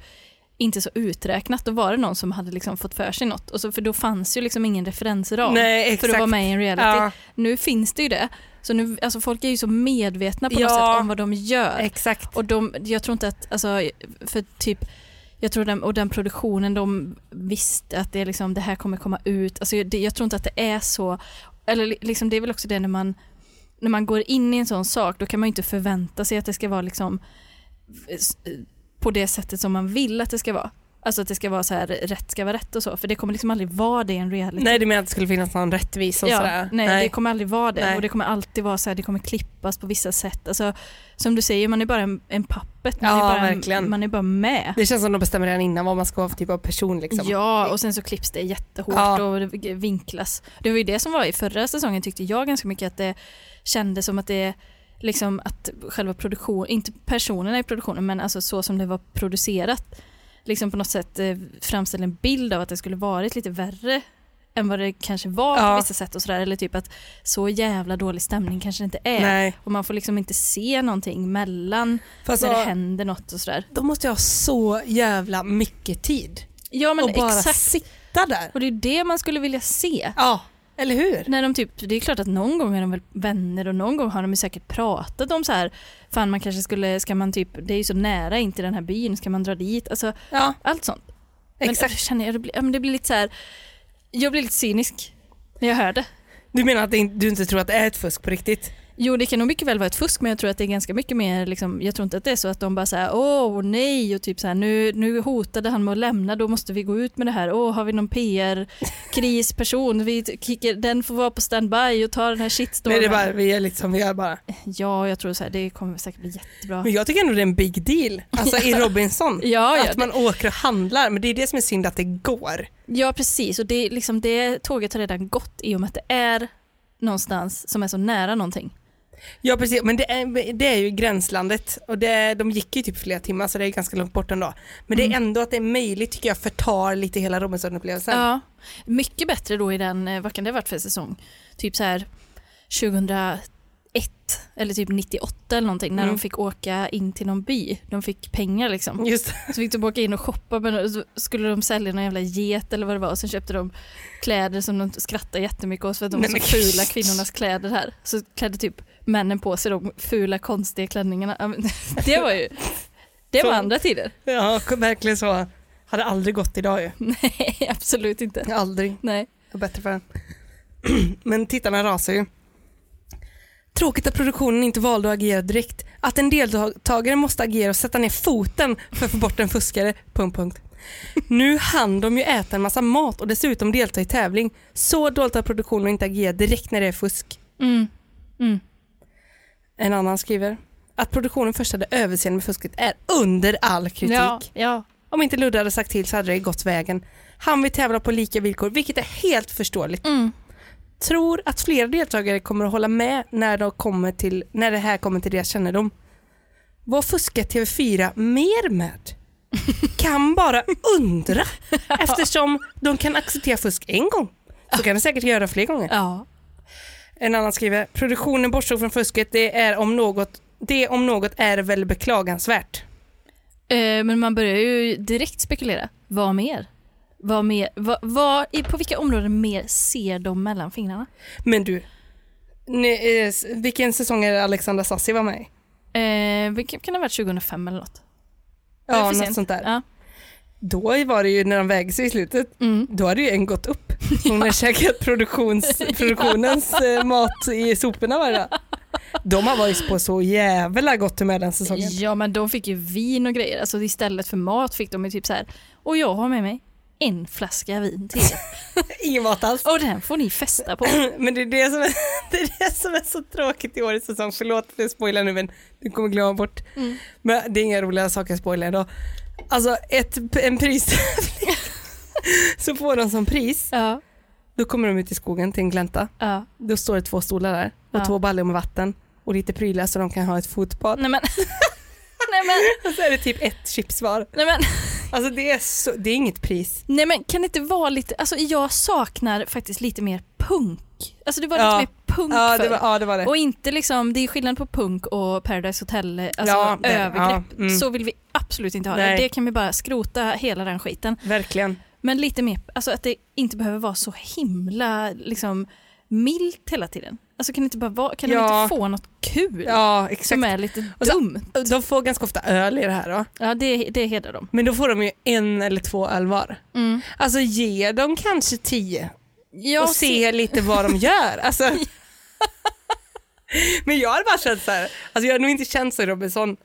A: inte så uträknat, då var det någon som hade liksom fått för sig något. Och så, för då fanns ju liksom ingen referensram
B: Nej,
A: för att vara
B: exakt.
A: med i en reality.
B: Ja,
A: Nu finns det ju det. Så nu, alltså folk är ju så medvetna på
B: Ja.
A: något sätt om vad de gör.
B: exakt.
A: Och de, jag tror inte att, alltså, för typ, jag tror den, och den produktionen, de visste att det, är liksom, det här kommer komma ut. Alltså, jag- det, jag tror inte att det är så, eller li- liksom, det är väl också det när man, när man går in i en sån sak, då kan man ju inte förvänta sig att det ska vara liksom, s- på det sättet som man vill att det ska vara. Alltså att det ska vara så här, rätt ska vara rätt och så, för det kommer liksom aldrig vara det i en reality
B: Nej, du menar att det skulle finnas någon rättvisa och liksom sådär?
A: nej, det kommer aldrig vara det.
B: Nej.
A: Och det kommer alltid vara så här, det kommer klippas på vissa sätt. Alltså, som du säger, man är bara en, en pappet. Man,
B: Ja,
A: är bara
B: verkligen.
A: man är bara med.
B: det känns som de bestämmer redan innan vad man ska ha för typ av person. Liksom.
A: Ja, och sen så klipps det jättehårt
B: Ja.
A: och det vinklas. Det var ju det som var i förra säsongen tyckte jag ganska mycket att det kändes som att det liksom att själva produktionen, inte personerna i produktionen men alltså så som det var producerat liksom på något sätt eh, framställde en bild av att det skulle varit lite värre än vad det kanske var
B: Ja.
A: på vissa sätt och sådär eller typ att så jävla dålig stämning kanske det inte är
B: Nej.
A: och man får liksom inte se någonting mellan
B: Fast,
A: när det
B: ja,
A: händer något och sådär.
B: de måste ju ha så jävla mycket tid
A: Ja men
B: och bara
A: exakt.
B: sitta där.
A: Och det är ju det man skulle vilja se.
B: Ja, eller hur?
A: När de typ, det är klart att någon gång är de väl vänner och någon gång har de ju säkert pratat om så här, fan man kanske skulle, ska man typ, det är ju så nära in till den här byn, ska man dra dit? Alltså
B: Ja,
A: allt sånt. Men
B: exakt.
A: jag känner jag, det blir, ja, men det blir lite så här, jag blir lite cynisk när jag hör det.
B: Du menar att det in- du inte tror att det är ett fusk på riktigt?
A: Jo det kan nog mycket väl vara ett fusk men jag tror att det är ganska mycket mer liksom, jag tror inte att det är så att de bara säger åh nej och typ så här nu, nu hotade han med att lämna då måste vi gå ut med det här, åh har vi någon PR-krisperson, vi t- kickar, den får vara på standby och ta den här shitstormen.
B: Nej, det är bara, vi är liksom, vi är bara.
A: Ja, jag tror så här, det kommer säkert bli jättebra.
B: Men jag tycker ändå det är en big deal, alltså i Robinson.
A: Ja, ja,
B: att man åker och handlar, men det är det som är synd att det går.
A: ja precis. Och det, är liksom, det tåget har redan gått i och med att det är någonstans som är så nära någonting.
B: Ja precis, men det är, det är ju gränslandet och det, är- de gick ju typ flera timmar så det är ganska långt bort ändå. Men det är ändå att det är möjligt tycker jag förtar lite hela Robinson-upplevelsen.
A: Ja, mycket bättre då i den, eh, vad kan det ha varit för säsong? Typ så här 2001 eller typ 98 eller någonting när
B: Mm.
A: de fick åka in till någon by. De fick pengar liksom.
B: Just det.
A: Så fick de åka in och shoppa men så skulle de sälja någon jävla get eller vad det var och sen köpte de kläder som de skrattade jättemycket åt för att de var
B: Nej,
A: så
B: men-
A: fula kvinnornas kläder här. Så klädde typ männen på sig de fula konstiga klänningarna. Ja, men Det var ju, det var
B: Så-
A: andra tider.
B: Ja, verkligen så. Hade aldrig gått idag ju.
A: Nej, absolut inte.
B: Aldrig.
A: Nej.
B: Det är bättre för den. Men tittarna rasar ju. Tråkigt att produktionen inte valde att agera direkt. Att en deltagare måste agera och sätta ner foten för att få bort en fuskare. Punkt, punkt. Nu hann de ju äta en massa mat och dessutom delta i tävling. Så dåligt att produktionen inte agerar direkt när det är fusk.
A: Mm. Mm.
B: En annan skriver att produktionen först hade överseende med fusket är under all kritik.
A: Ja, ja.
B: Om inte Ludde hade sagt till så hade det gått vägen. Han vill tävla på lika villkor, vilket är helt förståeligt.
A: Mm.
B: tror att flera deltagare kommer att hålla med när, de kommer till, när det här kommer till deras kännedom. Vad fuskar TV4 mer med? kan bara undra eftersom de kan acceptera fusk en gång. Så kan de säkert göra fler gånger.
A: Ja.
B: En annan skriver, produktionen bortsåg från fusket, det är om något, det om något är väl beklagansvärt.
A: Eh, men man börjar ju direkt spekulera. Vad mer? Vad mer? Vad, vad, i, på vilka områden mer ser de mellan fingrarna?
B: Men du, ni, eh, s- vilken säsong är det Alexandra Sassi var med i?
A: Eh, vilket kan ha varit 2005 eller något. Är det
B: Ja,
A: för
B: något
A: sent?
B: sånt där.
A: Ja.
B: Då var det ju när de vägde sig i slutet,
A: Mm.
B: då hade ju en gått upp. Hon har käkat produktions, produktionens eh, mat i soporna varje dag. De har varit på så jävla gott humör den säsongen.
A: ja, men de fick ju vin och grejer. Alltså istället för mat fick de ju typ så här. Och jag har med mig en flaska vin till er.
B: Ingen mat alls.
A: Och den får ni festa på.
B: Men det är det, som är, det är det som är så tråkigt i årets säsong. Förlåt för att jag spoilar nu men du kommer glömma bort. Men det är inga roliga saker jag spoilar idag. Alltså ett, en pristävling så får de som pris,
A: Ja,
B: då kommer de ut i skogen till en glänta.
A: ja.
B: Då står det två stolar där och
A: Ja.
B: två baljor med vatten och lite prylar så de kan ha ett fotbad.
A: Nej men. nej men.
B: Och så är det typ ett chips var.
A: Nej men.
B: Alltså det är, så, det är inget pris.
A: Nej men kan det inte vara lite, alltså jag saknar faktiskt lite mer punk. Alltså det var lite
B: Ja.
A: mer punk
B: Ja det
A: förr.
B: var, ja, det, var det.
A: Och inte liksom, det är skillnad på punk och Paradise Hotel, alltså
B: Ja, det-
A: övergrepp.
B: ja, mm.
A: Så vill vi absolut inte ha
B: Nej.
A: det. Det kan vi bara skrota hela den skiten.
B: mm, Verkligen.
A: Men lite mer, alltså att det inte behöver vara så himla liksom milt hela tiden. Alltså kan det inte bara vara, kan de
B: Ja.
A: inte få något kul
B: Ja exakt.
A: som är lite
B: Och så-
A: dumt?
B: De får ganska ofta öl i det här då.
A: Ja det, det hedrar dem.
B: Men då får de ju en eller två öl var.
A: Mm.
B: Alltså ge dem kanske tio
A: Jag
B: och se lite vad de gör. Alltså. Men jag hade bara känt så här, alltså jag hade nog inte känt så Robinson,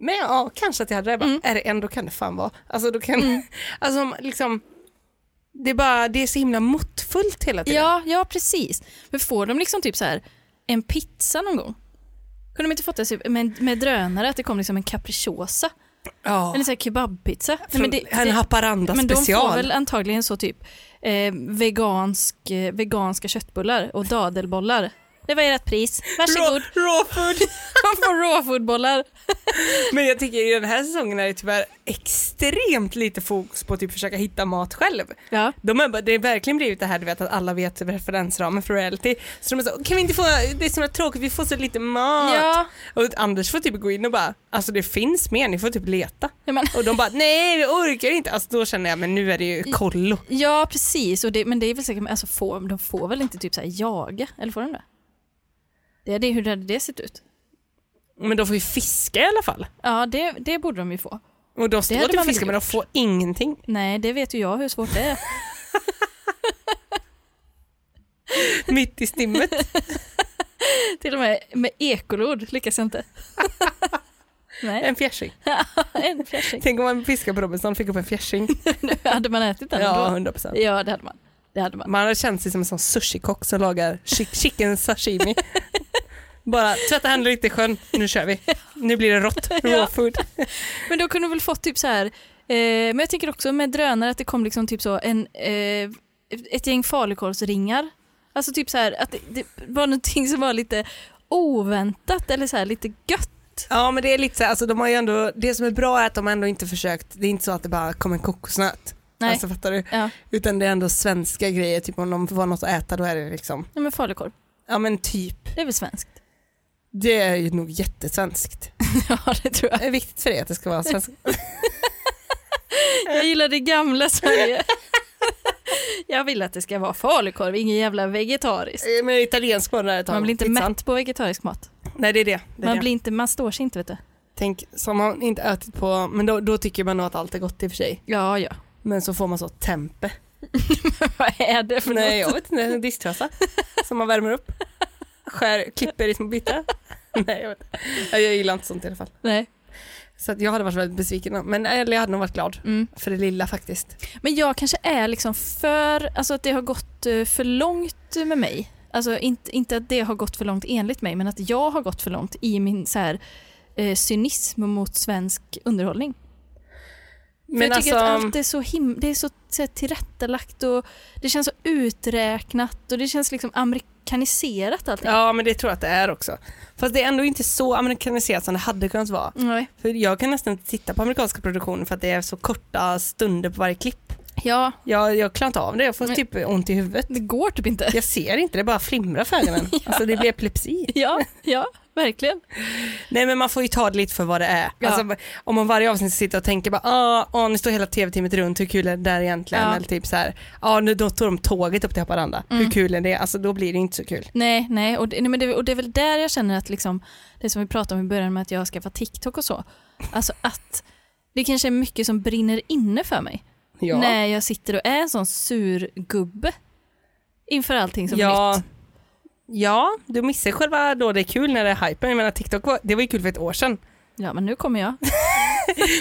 B: men ja, kanske att jag hade det. Jag Bara,
A: Mm.
B: Är det en, då kan det fan vara. Alltså, då kan, alltså om- liksom, det, är bara, det är så himla måttfullt hela tiden.
A: Ja, ja precis. Men får de liksom typ så här en pizza någon gång? Kunde de inte fått det typ med, med drönare, att det kom liksom en capricciosa?
B: Ja.
A: Eller så här kebabpizza? Nej, men det,
B: en
A: det,
B: Haparanda
A: men de får
B: special.
A: väl antagligen så typ eh, vegansk, eh, veganska köttbullar och dadelbollar. Det var ert pris. Varsågod.
B: Raw- raw food.
A: Man får råfoodbollar.
B: Men jag tycker i den här säsongen är det tyvärr extremt lite fokus på att typ försöka hitta mat själv.
A: Ja.
B: De har, bara- det har verkligen blivit det här du vet att alla vet referensramen för reality. Så de är så, kan vi inte få, det är så himla tråkigt, vi får så lite mat.
A: Ja.
B: Och Anders får typ gå in och bara, alltså det finns mer, ni får typ leta.
A: Ja, men,
B: Och de bara, nej vi orkar inte. Alltså då känner jag, men nu är det ju kollo.
A: ja, precis. Och det, men det är väl säkert, alltså, får, de får väl inte typ så här jaga? Eller får de det? Det är det, hur hade det sett ut?
B: Men de får ju fiska i alla fall.
A: Ja, det, det borde de ju få.
B: Och de står
A: hade
B: typ
A: man
B: och
A: väl
B: fiskar men de
A: gjort.
B: får ingenting.
A: Nej, det vet ju jag hur svårt det är.
B: Mitt i stimmet.
A: Till och med med ekolod lyckas jag inte. Nej,
B: En fjärsing.
A: en fjärsing.
B: Tänk om man fiskar på Robinson fick upp en fjärsing.
A: Hade man ätit den
B: Ja,
A: då?
B: 100 procent.
A: Ja, det hade man. Det hade man.
B: Man hade känt sig som en sån sushikock som lagar chi- chicken sashimi. Bara tvätta händerna lite i sjön, nu kör vi. Nu blir det rått, raw
A: Ja.
B: food.
A: Men då kunde du väl fått typ så här, eh, men jag tänker också med drönare att det kom liksom typ så en, eh, ett gäng falukorvsringar. Alltså typ så här att det, det var någonting som var lite oväntat eller så här lite gött.
B: Ja men det är lite så här, alltså de har ju ändå, det som är bra är att de ändå inte försökt, det är inte så att det bara kom en kokosnöt.
A: Nej.
B: Alltså fattar du?
A: Ja,
B: Utan det är ändå svenska grejer, typ om de får något att äta då är det liksom,
A: nej, men falukorv,
B: ja men typ.
A: det är väl svenskt?
B: Det är ju nog jättesvenskt.
A: Ja, det tror jag.
B: Det är viktigt för dig att det ska vara svenskt.
A: Jag gillar det gamla Sverige. Jag vill att det ska vara falukorv, ingen jävla vegetariskt.
B: Eh, Men italiensk var det där ett tag.
A: Man blir inte
B: Pizzan.
A: mätt på vegetarisk mat.
B: Nej det är det. det, är
A: Man,
B: det.
A: blir inte, man står sig inte vet du.
B: Tänk, som man inte ätit på, men då, då tycker man nog att allt är gott i och för sig.
A: Ja, ja.
B: Men så får man så tempe.
A: Vad är det för
B: Nej
A: något?
B: jag vet inte, en disktrasa som man värmer upp. Skär, klipper i små bitar. Nej jag vet inte. Nej, Jag gillar inte sånt i alla fall.
A: Nej.
B: Så att jag hade varit väldigt besviken. Men eller jag hade nog varit glad
A: Mm.
B: för det lilla faktiskt.
A: Men jag kanske är liksom för, alltså att det har gått eh, för långt med mig. Alltså inte, inte att det har gått för långt enligt mig, men att jag har gått för långt i min så här, eh, cynism mot svensk underhållning. För
B: Men
A: jag tycker
B: alltså,
A: att allt är så, him- det är så, så här, tillrättalagt och det känns så uträknat och det känns liksom amerikaniserat allting.
B: ja men det tror jag att det är också. Fast det är ändå inte så amerikaniserat som det hade kunnat vara.
A: Nej.
B: För jag kan nästan inte titta på amerikanska produktioner för att det är så korta stunder på varje klipp.
A: Ja,
B: Jag, jag klarar inte av det, jag får
A: Men-
B: typ ont i huvudet.
A: det går typ inte.
B: Jag ser inte, det bara flimrar för ögonen. Alltså det blir epilepsi.
A: Ja, ja, verkligen.
B: Nej men man får ju ta det lite för vad det är.
A: Ja.
B: Alltså, om man varje avsnitt sitter och tänker bara ah, ah, nu står hela tv-teamet runt, hur kul är det där egentligen?
A: Ja. Mm.
B: Eller typ så här, ah, nu då tog de tåget upp till Haparanda, hur kul är det? Alltså då blir det inte så kul.
A: Nej, nej. Och, det, nej men det, och det är väl där jag känner att liksom, det som vi pratade om i början med att jag har skaffat TikTok och så, alltså att det kanske är mycket som brinner inne för mig
B: Ja,
A: när jag sitter och är en sån surgubbe inför allting som är
B: ja,
A: nytt.
B: ja du missar själva då det är kul när det är hypen. Jag menar TikTok var, det var ju kul för ett år sedan.
A: Ja, men nu kommer jag.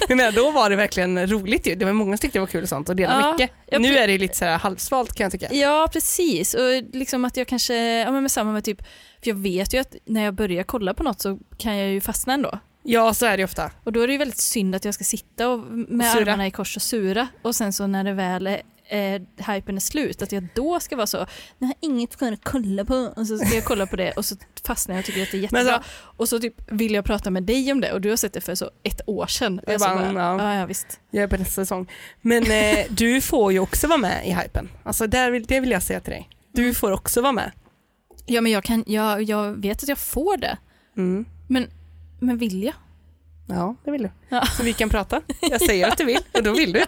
B: Jag menar då var det verkligen roligt ju. Det var många som tyckte det var kul och sånt och delade
A: Ja, jag
B: mycket.
A: pre-
B: Nu är det ju lite så här halvsvalt kan jag tycka.
A: Ja, precis. Och liksom att jag kanske, ja men med samma med typ, för jag vet ju att när jag börjar kolla på något så kan jag ju fastna ändå.
B: Ja så är det ju ofta.
A: Och då är det ju väldigt synd att jag ska sitta och med
B: Sura.
A: armarna i kors och sura och sen så när det väl är eh, hypen är slut, att jag då ska vara så, jag har inget kvar att kolla på och så ska jag kolla på det och så fastnar jag och tycker att det är
B: Men
A: jättebra.
B: så-
A: och så typ vill jag prata med dig om det och du har sett det för så ett år sedan. Och
B: Jag
A: så
B: bara, ja.
A: ja, ja visst.
B: Jag är på nästa säsong. Men eh, du får ju också vara med i hypen. Alltså där vill, det vill jag säga till dig.
A: Mm.
B: Du får också vara med.
A: Ja men jag, kan, jag, jag vet att jag får det,
B: Mm.
A: men, men vill jag?
B: Ja, det vill du.
A: Ja.
B: Så vi kan prata. Jag säger att du vill och då vill du.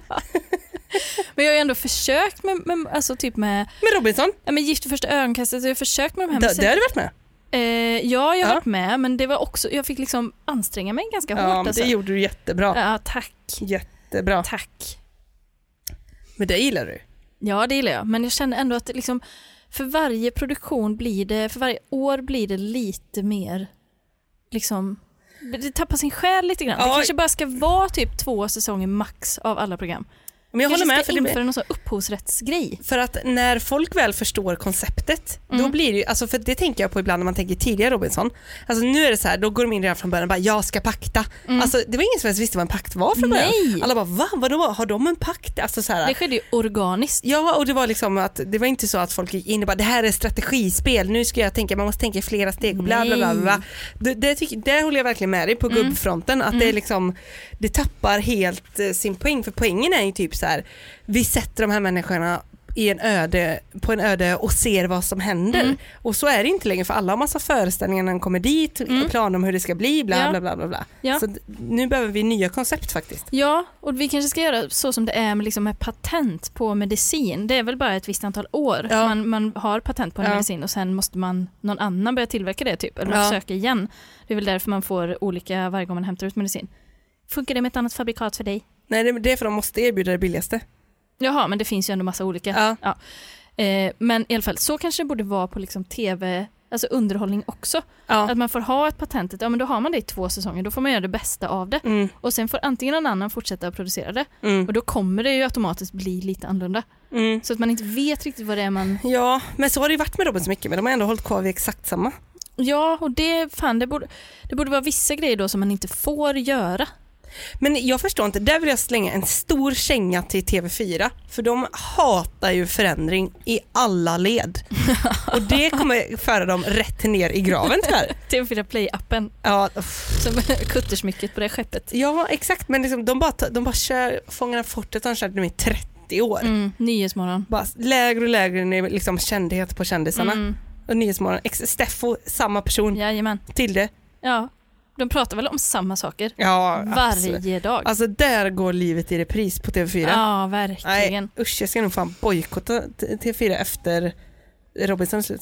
A: Men jag har ju ändå försökt med, med alltså typ med,
B: Men Robinson,
A: ja, men Gift i första ögonkastet, så jag har försökt med de här
B: där, där har du varit med.
A: Eh, ja, jag har
B: Ja.
A: varit med, men det var också, jag fick liksom anstränga mig ganska
B: Ja,
A: hårt.
B: men
A: Alltså.
B: det gjorde du jättebra.
A: ja, tack.
B: Jättebra.
A: Tack.
B: Men det gillar du.
A: Ja, det gillar jag. Men jag känner ändå att det liksom, för varje produktion blir det, för varje år blir det lite mer, liksom, det tappar sin själ lite grann. Det
B: Ja.
A: kanske bara ska vara typ två säsonger max av alla program.
B: Men jag håller
A: kanske
B: med.
A: ska
B: För, det,
A: införa någon sån upphovsrättsgrej.
B: för att när folk väl förstår konceptet,
A: Mm.
B: då blir det ju, alltså för det tänker jag på ibland när man tänker tidiga Robinson. Alltså nu är det så här, då går de in redan från början och bara jag ska pakta. Alltså det var ingen som ens visste vad en pakt var från början.
A: Mm. Nej.
B: Alla bara va, vadå, har de en pakt? Alltså så här,
A: Det skedde ju organiskt.
B: Ja, och det var liksom att det var inte så att folk gick in och bara det här är strategispel, nu ska jag tänka, man måste tänka i flera steg och bla bla bla. bla. Det, det, tycker- där håller jag verkligen med dig
A: Mm.
B: på gubbfronten, att det är liksom, det tappar helt eh, sin poäng, för poängen är ju typ så här, vi sätter de här människorna i en öde, på en öde och ser vad som händer.
A: Mm.
B: Och så är det inte längre för alla har massa föreställningar när de kommer dit, planer om hur det ska bli, bla
A: Mm. Ja.
B: bla bla. bla, bla.
A: Ja.
B: Så d- nu behöver vi nya koncept faktiskt.
A: Ja, och vi kanske ska göra så som det är med, liksom med patent på medicin. Det är väl bara ett visst antal år
B: Ja.
A: man, man har patent på en
B: Ja.
A: medicin och sen måste man någon annan börja tillverka det typ, eller man
B: Ja.
A: försöker igen. Det är väl därför man får olika varje gång man hämtar ut medicin. Funkar det med ett annat fabrikat för dig?
B: Nej, det, det är för de måste erbjuda det billigaste.
A: Jaha, men det finns ju ändå massa olika.
B: Ja.
A: Eh, men i alla fall, så kanske det borde vara på liksom tv, alltså underhållning också.
B: Ja.
A: Att man får ha ett patentet, ja men då har man det i två säsonger, då får man göra det bästa av det.
B: Mm,
A: Och sen får antingen någon annan fortsätta att producera det,
B: mm,
A: och då kommer det ju automatiskt bli lite annorlunda.
B: mm.
A: Så att man inte vet riktigt vad det är man...
B: Ja, men så har det ju varit med Robin så mycket, men de har ändå hållit kvar vid exakt samma.
A: Ja, och det, fan, det, borde, det borde vara vissa grejer då som man inte får göra.
B: Men jag förstår inte, där vill jag slänga en stor känga till TV4, för de hatar ju förändring i alla led. Och det kommer föra dem rätt ner i graven tyvärr.
A: TV4 Play-appen,
B: Ja, uff.
A: som kuttersmycket på det här skeppet.
B: ja exakt, men liksom, de, bara, ta- de bara kör Fångarna på fortet, de har kört dem i 30 år.
A: Mm, Nyhetsmorgon.
B: Bara lägre och lägre ner, liksom kändhet på kändisarna.
A: Mm,
B: Och Nyhetsmorgon, ex- Steffo, samma person,
A: jajamän.
B: Tilde.
A: Ja, de pratar väl om samma saker
B: Ja, absolut.
A: varje dag.
B: Alltså där går livet i repris på TV4.
A: Ja, verkligen.
B: Nej, usch jag ska nog fan bojkotta T- T4 efter Robinson är slut.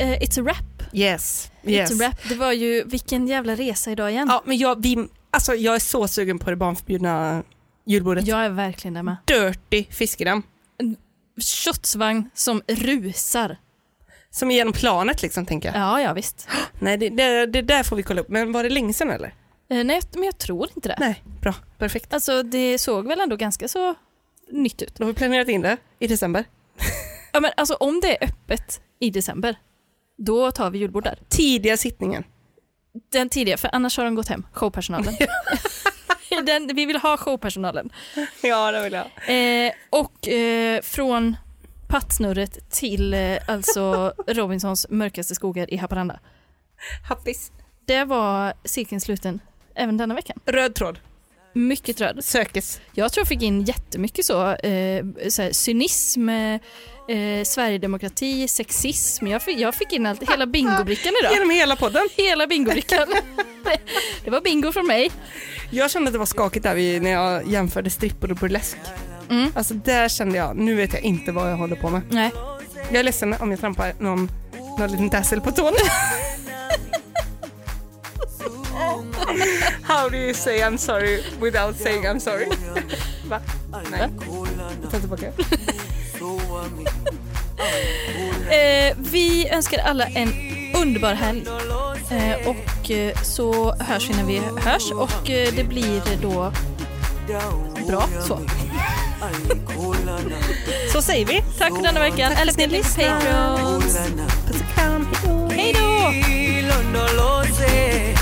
A: Eh, it's a wrap.
B: Yes.
A: It's a wrap. Det var ju, vilken jävla resa idag igen.
B: Ja, men jag, vi, alltså, jag är så sugen på det barnförbjudna julbordet.
A: Jag är verkligen där med.
B: Dirty fiskedamm.
A: Shotsvagn som rusar.
B: Som är genom planet liksom tänker jag.
A: Ja, ja visst.
B: Nej det, det, det där får vi kolla upp. Men var det länge sedan eller?
A: Eh, nej, men jag tror inte det.
B: Nej, bra. Perfekt.
A: Alltså det såg väl ändå ganska så nytt ut.
B: Då har vi planerat in det i december.
A: Ja men alltså om det är öppet i december, då tar vi julbord där.
B: Tidiga sittningen.
A: den tidiga, för annars har de gått hem, showpersonalen. den, vi vill ha showpersonalen.
B: Ja, det vill jag.
A: Eh, och eh, från pattsnurret till eh, alltså Robinsons mörkaste skogar i Haparanda.
B: Happis.
A: Det var cirkeln sluten även denna veckan.
B: Röd tråd.
A: Mycket röd.
B: Sökes.
A: Jag tror jag fick in jättemycket så, eh, så här, cynism, eh, eh, Sverigedemokrati, sexism. Jag fick, jag fick in allt, hela bingobrickan idag.
B: Genom hela podden.
A: Hela bingobrickan. Det var bingo från mig.
B: Jag kände att det var skakigt där vid, när jag jämförde strippor och burlesk.
A: Mm.
B: Alltså där kände jag, nu vet jag inte vad jag håller på med.
A: Nej,
B: Jag är ledsen om jag trampar någon, någon liten tassel på tån. How do you say I'm sorry without saying I'm sorry? Va? Nej. Ta tillbaka.
A: Eh, vi önskar alla en underbar helg. Eh, och eh, så hörs vi när vi hörs och eh, det blir då bra så.
B: Så säger vi.
A: Tack för denna veckan. Älskar ni Patreons.
B: Puss och kram. Hej då.
A: Hej då!
D: Hilo no lo sé,